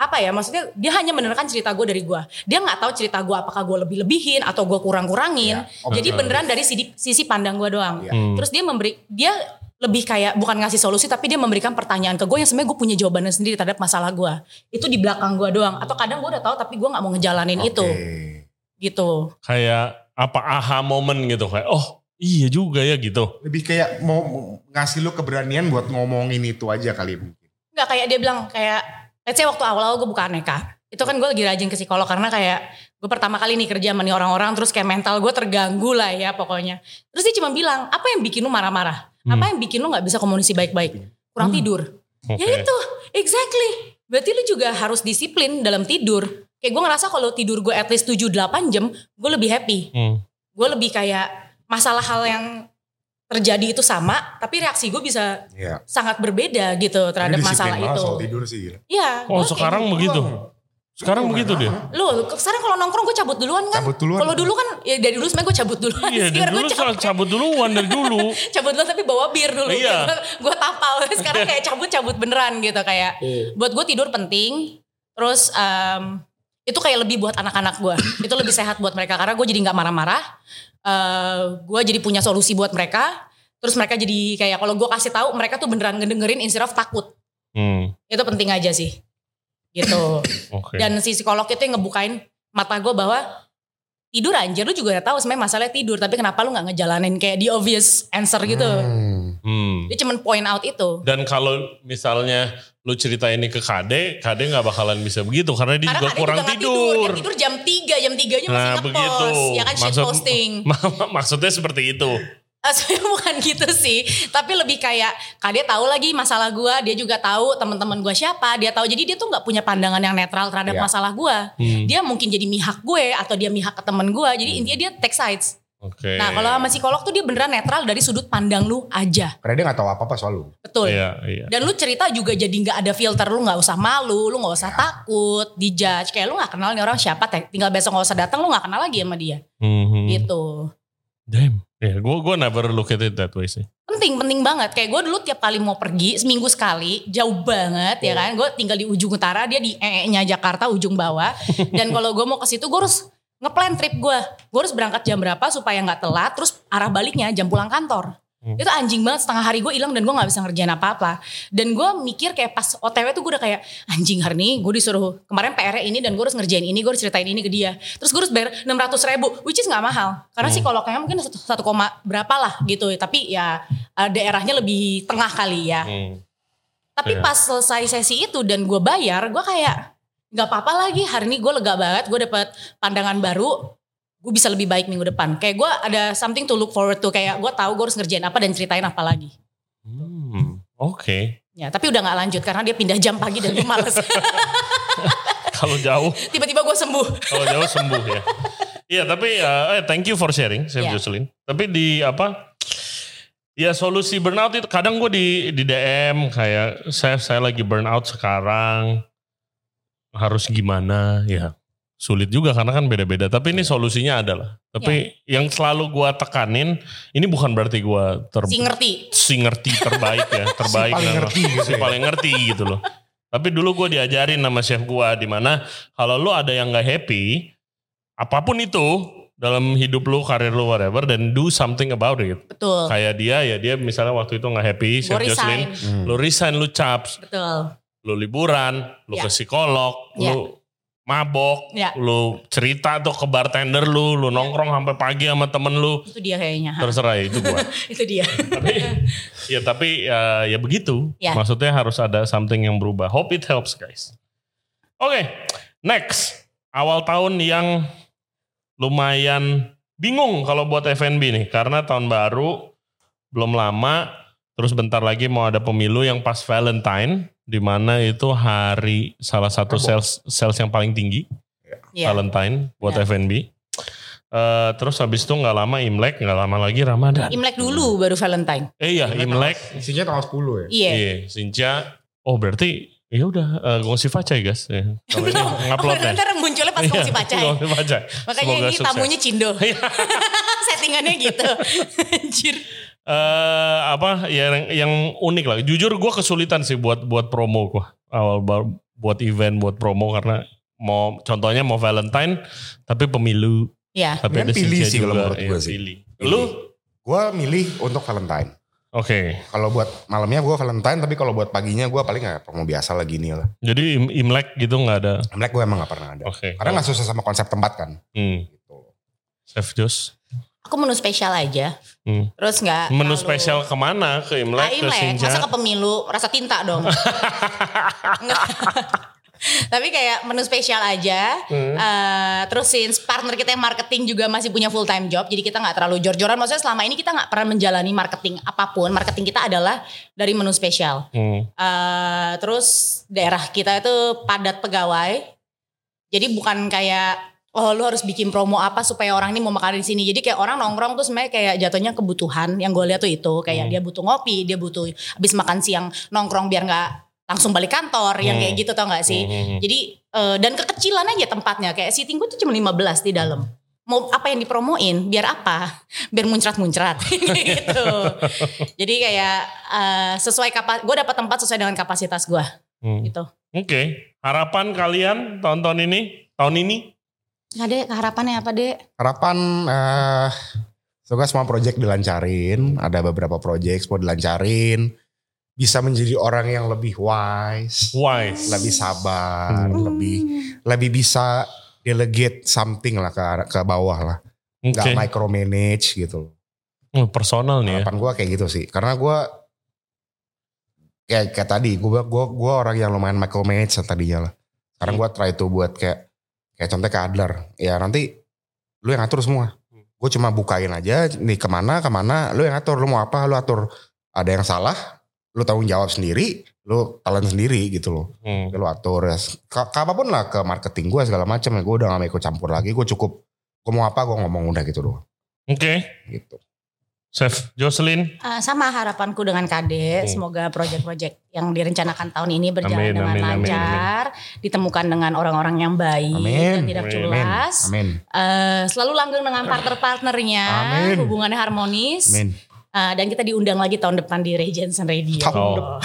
Speaker 3: apa ya maksudnya dia hanya menerangkan cerita gue dari gue dia nggak tahu cerita gue apakah gue lebih lebihin atau gue kurang kurangin
Speaker 1: Iya,
Speaker 3: jadi
Speaker 1: objektif.
Speaker 3: beneran dari sisi, sisi pandang gue doang
Speaker 1: Iya.
Speaker 2: Hmm.
Speaker 3: terus dia memberi dia lebih kayak bukan ngasih solusi tapi dia memberikan pertanyaan ke gue yang sebenarnya gue punya jawabannya sendiri terhadap masalah gue itu di belakang gue doang atau kadang gue udah tahu tapi gue nggak mau ngejalanin itu gitu
Speaker 2: Kayak apa aha moment gitu kayak oh iya juga ya gitu.
Speaker 1: Lebih kayak mau mau ngasih lu keberanian buat ngomongin itu aja kali mungkin.
Speaker 3: nggak kayak dia bilang kayak let's say waktu awal-awal gue buka aneka itu kan gue lagi rajin ke psikolog karena kayak gue pertama kali nih kerja sama nih orang-orang terus kayak mental gue terganggu lah ya pokoknya terus dia cuma bilang apa yang bikin lu marah-marah apa yang bikin lu nggak bisa komunikasi baik-baik kurang tidur
Speaker 2: Oke.
Speaker 3: ya itu exactly berarti lu juga harus disiplin dalam tidur kayak gue ngerasa kalau tidur gue at least 7-8 jam gue lebih happy
Speaker 2: Hmm.
Speaker 3: gue lebih kayak masalah hal yang terjadi itu sama tapi reaksi gue bisa
Speaker 1: Iya.
Speaker 3: sangat berbeda gitu
Speaker 1: Ini
Speaker 3: terhadap
Speaker 1: disiplin
Speaker 3: masalah
Speaker 1: banget
Speaker 3: itu
Speaker 1: Soal tidur sih gila.
Speaker 3: Iya.
Speaker 2: Oh
Speaker 3: gua
Speaker 2: sekarang
Speaker 3: kayak
Speaker 2: begitu.
Speaker 1: Doang.
Speaker 2: Sekarang begitu dia.
Speaker 1: Kenapa?
Speaker 3: gitu. Lu sekarang kalau nongkrong gue cabut duluan kan?
Speaker 1: Cabut duluan.
Speaker 3: Kalau dulu kan ya dari dulu sebenarnya gue cabut
Speaker 2: Iya,
Speaker 3: duluan. sih,
Speaker 2: dari
Speaker 3: karena
Speaker 2: dulu
Speaker 3: gua
Speaker 2: soal cabut duluan dari dulu.
Speaker 3: cabut dulu tapi bawa bir dulu.
Speaker 2: Iya.
Speaker 3: gue tapal. Sekarang kayak cabut-cabut beneran gitu kayak.
Speaker 2: Iya.
Speaker 3: Buat gue tidur penting. Terus em, itu kayak lebih buat anak-anak gue. itu lebih sehat buat mereka karena gue jadi nggak marah-marah. Eh gue jadi punya solusi buat mereka. Terus mereka jadi kayak kalau gue kasih tahu mereka tuh beneran ngedengerin instead of takut.
Speaker 2: Hmm.
Speaker 3: Itu penting aja sih. Gitu.
Speaker 2: Oke.
Speaker 3: Dan si psikolog itu yang ngebukain mata gue bahwa tidur anjir lu juga udah tahu sebenarnya masalahnya tidur tapi kenapa lu nggak ngejalanin kayak the obvious answer gitu.
Speaker 1: Hmm.
Speaker 2: Hmm.
Speaker 3: Dia cuman point out itu.
Speaker 2: Dan kalau misalnya lu cerita ini ke Kade, Kade nggak bakalan bisa begitu karena dia
Speaker 3: Karena
Speaker 2: juga
Speaker 3: kadang
Speaker 2: kurang
Speaker 3: nggak
Speaker 2: tidur.
Speaker 3: Dia tidur kan gitu. jam 3, jam 3 nya masih
Speaker 2: Nah
Speaker 3: ngepost.
Speaker 2: begitu.
Speaker 3: Ya kan shit posting.
Speaker 2: maksudnya seperti itu.
Speaker 3: Eh, Sebenarnya bukan gitu sih, tapi lebih kayak Kak dia tahu lagi masalah gua, dia juga tahu teman-teman gua siapa, dia tahu. Jadi dia tuh nggak punya pandangan yang netral terhadap
Speaker 1: Iya.
Speaker 3: masalah gua.
Speaker 2: Hmm.
Speaker 3: Dia mungkin jadi mihak gue atau dia mihak ke temen gua. Jadi intinya dia take sides.
Speaker 2: Oke.
Speaker 3: Nah kalau sama psikolog tuh dia beneran netral dari sudut pandang lu aja.
Speaker 1: Karena dia gak tahu apa-apa soal lu.
Speaker 3: Betul.
Speaker 2: Iya, iya.
Speaker 3: Dan lu cerita juga jadi nggak ada filter, lu nggak usah malu, lu nggak usah takut, dijudge. Kayak lu nggak kenal nih orang siapa, teh. tinggal besok nggak usah datang, lu nggak kenal lagi sama dia.
Speaker 2: Mhm.
Speaker 3: Gitu.
Speaker 2: Damn. Ya, gua gua never look at it that way sih.
Speaker 3: Penting, penting banget. Kayak gue dulu tiap kali mau pergi, seminggu sekali, jauh banget ya kan. Gue tinggal di ujung utara, dia di ee-nya Jakarta, ujung bawah. Dan kalau gue mau ke situ, gue harus ngeplan trip gue. Gue harus berangkat jam berapa supaya nggak telat, terus arah baliknya jam pulang kantor.
Speaker 2: Hmm.
Speaker 3: Itu anjing banget setengah hari gue hilang dan gue nggak bisa ngerjain apa-apa. Dan gue mikir kayak pas OTW tuh gue udah kayak anjing hari ini gue disuruh kemarin PR ini dan gue harus ngerjain ini, gue harus ceritain ini ke dia. Terus gue harus bayar 600 ribu, which is nggak mahal. Karena psikolognya mungkin satu, satu koma berapa lah gitu. Tapi ya eh, daerahnya lebih tengah kali ya.
Speaker 2: Hmm.
Speaker 3: Tapi
Speaker 2: Iya.
Speaker 3: pas selesai sesi itu dan gue bayar, gue kayak nggak apa-apa lagi. Hari ini gue lega banget, gue dapet pandangan baru. Gue bisa lebih baik minggu depan. Kayak gue ada something to look forward to. Kayak gue tahu gue harus ngerjain apa dan ceritain apa lagi.
Speaker 2: Hmm. Oke.
Speaker 3: Ya, tapi udah nggak lanjut karena dia pindah jam pagi dan gue males.
Speaker 2: Kalau jauh,
Speaker 3: Tiba-tiba gue sembuh.
Speaker 2: kalau jauh sembuh ya. Iya, tapi eh, eh, thank you for sharing, Chef
Speaker 3: Iya.
Speaker 2: Jocelyn. Tapi di apa? Ya solusi burnout itu kadang gue di di DM kayak saya saya lagi burnout sekarang harus gimana ya sulit juga karena kan beda-beda tapi ini solusinya adalah tapi yang selalu gua tekanin ini bukan berarti gua ter
Speaker 3: Si ngerti.
Speaker 2: si ngerti terbaik ya terbaik
Speaker 1: paling
Speaker 2: lah.
Speaker 1: ngerti gitu
Speaker 2: si
Speaker 1: ya.
Speaker 2: paling ngerti gitu loh tapi dulu gue diajarin sama chef gue di mana kalau lu ada yang nggak happy apapun itu dalam hidup lu karir lu whatever dan do something about it
Speaker 3: Betul.
Speaker 2: kayak dia ya dia misalnya waktu itu nggak happy
Speaker 3: Gue
Speaker 2: chef
Speaker 3: Oh. resign.
Speaker 2: Jocelyn lu resign lu caps
Speaker 3: Betul.
Speaker 2: lu liburan lu
Speaker 3: Ya.
Speaker 2: ke psikolog
Speaker 3: Ya.
Speaker 2: lu mabok,
Speaker 3: Ya.
Speaker 2: lu cerita tuh ke bartender lu, lu nongkrong sampai pagi sama temen lu,
Speaker 3: Itu dia kayaknya. ha.
Speaker 2: terserah itu gua.
Speaker 3: Itu dia.
Speaker 2: tapi ya tapi ya, ya begitu.
Speaker 3: Ya.
Speaker 2: Maksudnya harus ada something yang berubah. Hope it helps guys. Oke, next awal tahun yang lumayan bingung kalau buat F&B nih karena tahun baru belum lama terus bentar lagi mau ada pemilu yang pas Valentine di mana itu hari salah satu
Speaker 1: Rebo.
Speaker 2: sales sales yang paling tinggi
Speaker 3: Iya.
Speaker 2: Valentine buat
Speaker 3: Ya.
Speaker 2: F&B. Eh, terus habis itu nggak lama Imlek, nggak lama lagi Ramadan.
Speaker 3: Imlek dulu baru Valentine.
Speaker 2: Eh iya Imlek
Speaker 1: Isinya tanggal 10 ya.
Speaker 3: Iya.
Speaker 2: Iya, Sinca. Oh berarti ya udah uh, gongsi paca ya guys. Ya. Kalau ini ngupload ya.
Speaker 3: Ntar munculnya pas kamu si ya. pacai.
Speaker 2: Iya, Gongsi Pacai.
Speaker 3: Makanya
Speaker 2: Semoga
Speaker 3: ini
Speaker 2: sukses.
Speaker 3: tamunya cindo.
Speaker 2: Iya.
Speaker 3: Settingannya gitu. Anjir.
Speaker 2: Eh, apa ya, yang yang unik lah. Jujur gue kesulitan sih buat buat promo gue awal baru buat event buat promo karena mau contohnya mau Valentine tapi pemilu
Speaker 3: Ya.
Speaker 2: tapi
Speaker 1: Mendingan
Speaker 2: ada
Speaker 1: pilih
Speaker 2: Sinca
Speaker 1: sih kalau
Speaker 2: juga.
Speaker 1: menurut
Speaker 2: Iya,
Speaker 1: gua sih.
Speaker 2: pilih.
Speaker 1: Pilih.
Speaker 2: Lu
Speaker 1: Gue milih untuk Valentine.
Speaker 2: oke.
Speaker 1: Kalau buat malamnya gue Valentine, tapi kalau buat paginya gue paling nggak promo biasa lagi nih lah.
Speaker 2: Jadi Im- Imlek gitu nggak ada.
Speaker 1: Imlek gue emang nggak pernah ada.
Speaker 2: Oke.
Speaker 1: Karena nggak sesuai sama konsep tempat kan.
Speaker 2: Hmm.
Speaker 1: Gitu.
Speaker 2: Chef Jos.
Speaker 3: Aku menu spesial aja.
Speaker 2: Hmm.
Speaker 3: Terus nggak
Speaker 2: Menu
Speaker 3: terlalu-
Speaker 2: spesial kemana? Ke
Speaker 3: Ah,
Speaker 2: Imlek, ke
Speaker 3: Imlek,
Speaker 2: Sinca?
Speaker 3: masa ke pemilu, rasa tinta dong. Nggak. Tapi kayak menu spesial aja.
Speaker 2: Hmm.
Speaker 3: Eh, terus since partner kita yang marketing juga masih punya full time job, jadi kita nggak terlalu jor-joran. Maksudnya selama ini kita nggak pernah menjalani marketing apapun. Marketing kita adalah dari menu spesial.
Speaker 2: Hmm.
Speaker 3: Eh, terus daerah kita itu padat pegawai. Jadi bukan kayak oh lu harus bikin promo apa supaya orang ini mau makan di sini. Jadi kayak orang nongkrong tuh sebenarnya kayak jatuhnya kebutuhan. Yang gue lihat tuh itu
Speaker 2: Hmm.
Speaker 3: kayak dia butuh ngopi, dia butuh habis makan siang nongkrong biar nggak langsung balik kantor yang
Speaker 2: Hmm.
Speaker 3: kayak gitu tau gak sih?
Speaker 2: Hmm.
Speaker 3: Jadi eh, dan kekecilan aja tempatnya kayak seating gue tuh cuma 15 di dalam. Mau apa yang dipromoin? Biar apa? Biar muncrat-muncrat gitu. Jadi kayak eh, sesuai kapas gue dapat tempat sesuai dengan kapasitas gue
Speaker 2: Hmm.
Speaker 3: gitu.
Speaker 2: Oke, harapan kalian tahun-tahun ini, tahun ini,
Speaker 3: Nggak deh keharapannya Nah, apa deh?
Speaker 1: Harapan eh semoga semua project dilancarin. Ada beberapa project mau dilancarin. Bisa menjadi orang yang lebih wise,
Speaker 2: wise.
Speaker 1: lebih sabar,
Speaker 2: Hmm.
Speaker 1: lebih lebih bisa delegate something lah ke ke bawah lah.
Speaker 2: Oke,
Speaker 1: Gak micromanage gitu.
Speaker 2: Hmm, personal nih ya.
Speaker 1: Harapan gue kayak gitu sih. Karena gue kayak kayak tadi gue gua gua orang yang lumayan micromanage tadinya lah. Sekarang gue try to buat kayak kayak contoh ke Adler. Ya nanti lu yang atur semua. Gue cuma bukain aja nih kemana kemana. Lu yang atur. Lu mau apa lu atur. Ada yang salah lu tanggung jawab sendiri, lu telan sendiri gitu loh.
Speaker 2: Hmm.
Speaker 1: Lu atur ya. Ke, ke apapun lah ke marketing gue segala macam ya. Gue udah gak mau ikut campur lagi. Gue cukup gue mau apa gue ngomong udah gitu doang.
Speaker 2: Oke,
Speaker 1: Gitu.
Speaker 2: Chef Jocelyn,
Speaker 3: Eh, sama harapanku dengan KD,
Speaker 2: Hmm.
Speaker 3: semoga proyek-proyek yang direncanakan tahun ini berjalan
Speaker 2: Amin,
Speaker 3: dengan
Speaker 2: amin, amin,
Speaker 3: lancar, ditemukan dengan orang-orang yang baik
Speaker 1: Amin.
Speaker 3: dan tidak
Speaker 2: Amin.
Speaker 3: culas,
Speaker 1: Amin.
Speaker 3: Eh, selalu langgeng dengan partner-partnernya,
Speaker 1: Amin.
Speaker 3: hubungannya harmonis,
Speaker 1: Amin.
Speaker 3: Eh, dan kita diundang lagi tahun depan di Regensen Radio.
Speaker 1: Tahun
Speaker 2: Oh.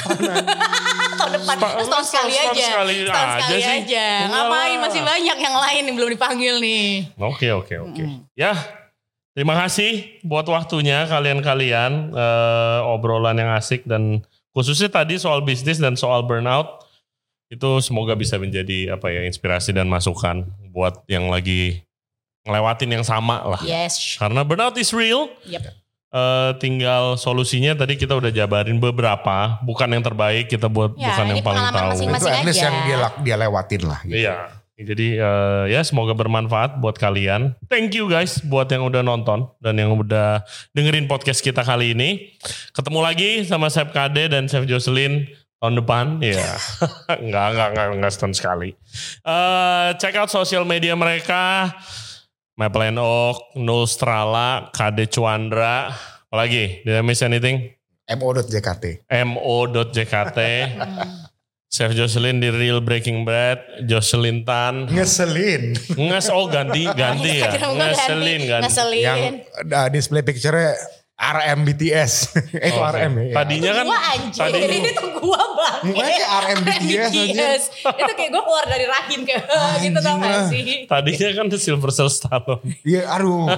Speaker 3: tahun depan,
Speaker 2: Spa-
Speaker 3: terus tahun sekali
Speaker 2: setahun
Speaker 3: aja,
Speaker 2: sekali
Speaker 3: tahun
Speaker 2: aja
Speaker 3: sekali
Speaker 2: sih.
Speaker 3: aja.
Speaker 2: Enggak
Speaker 3: Ngapain?
Speaker 2: lah.
Speaker 3: Masih banyak yang lain yang belum dipanggil nih.
Speaker 2: oke oke oke.
Speaker 3: Mm.
Speaker 2: Ya, terima kasih buat waktunya kalian-kalian, Eh, obrolan yang asik dan khususnya tadi soal bisnis dan soal burnout itu semoga bisa menjadi apa ya inspirasi dan masukan buat yang lagi ngelewatin yang sama lah.
Speaker 3: Yes.
Speaker 2: Karena burnout is real.
Speaker 3: Yep.
Speaker 2: Eh, tinggal solusinya tadi kita udah jabarin beberapa, bukan yang terbaik kita buat,
Speaker 3: Ya,
Speaker 2: bukan
Speaker 3: ini
Speaker 2: yang paling
Speaker 3: pengalaman
Speaker 2: tahu.
Speaker 1: itu
Speaker 3: masing-masing.
Speaker 1: at least
Speaker 3: aja.
Speaker 1: yang dia, lak- dia lewatin lah. gitu.
Speaker 2: Iya. Jadi eh, ya semoga bermanfaat buat kalian. Thank you guys buat yang udah nonton dan yang udah dengerin podcast kita kali ini. Ketemu lagi sama Chef Kade dan Chef Jocelyn tahun depan. Iya. enggak, enggak, enggak, enggak setahun sekali. Eh, check out sosial media mereka. Maple and Oak, Nul Strala, Kade Cuandra. Apalagi, did I miss anything?
Speaker 1: MO.jkt.
Speaker 2: mo.jkt. Chef Jocelyn di Real Breaking Bread, Jocelyn Tan,
Speaker 1: Ngeselin.
Speaker 2: Nges oh ganti ganti ya.
Speaker 3: Instagram gua
Speaker 2: Ngeselin
Speaker 3: ganti. oh.
Speaker 2: ganti.
Speaker 3: Ngeselin.
Speaker 1: yang uh, display picture-nya RM BTS. eh, itu
Speaker 2: Oke.
Speaker 1: RM ya.
Speaker 2: Oh, Tadinya kan
Speaker 3: gua anjing
Speaker 2: tadi
Speaker 3: jadi itu gua bang
Speaker 1: Mukanya kayak RM BTS aja.
Speaker 3: BTS. itu kayak gua keluar dari rahim kayak gitu tau
Speaker 1: Anjing
Speaker 3: gak
Speaker 1: lah.
Speaker 3: sih
Speaker 2: tadinya kan Silver Star Stallone.
Speaker 1: Iya, aduh.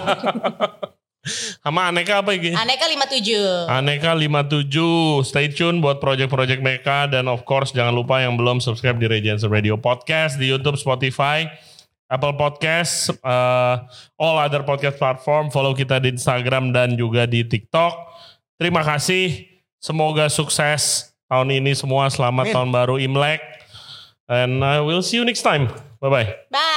Speaker 2: Sama aneka apa ya? Gi?
Speaker 3: Aneka 57.
Speaker 2: Aneka 57. Stay tune buat project-project mereka dan of course jangan lupa yang belum subscribe di Regency Radio Podcast di YouTube, Spotify, Apple Podcast, eh, all other podcast platform. Follow kita di Instagram dan juga di TikTok. Terima kasih. Semoga sukses tahun ini semua.
Speaker 1: Amin.
Speaker 2: Selamat tahun baru Imlek. And I will see you next time. Bye bye.
Speaker 3: Bye.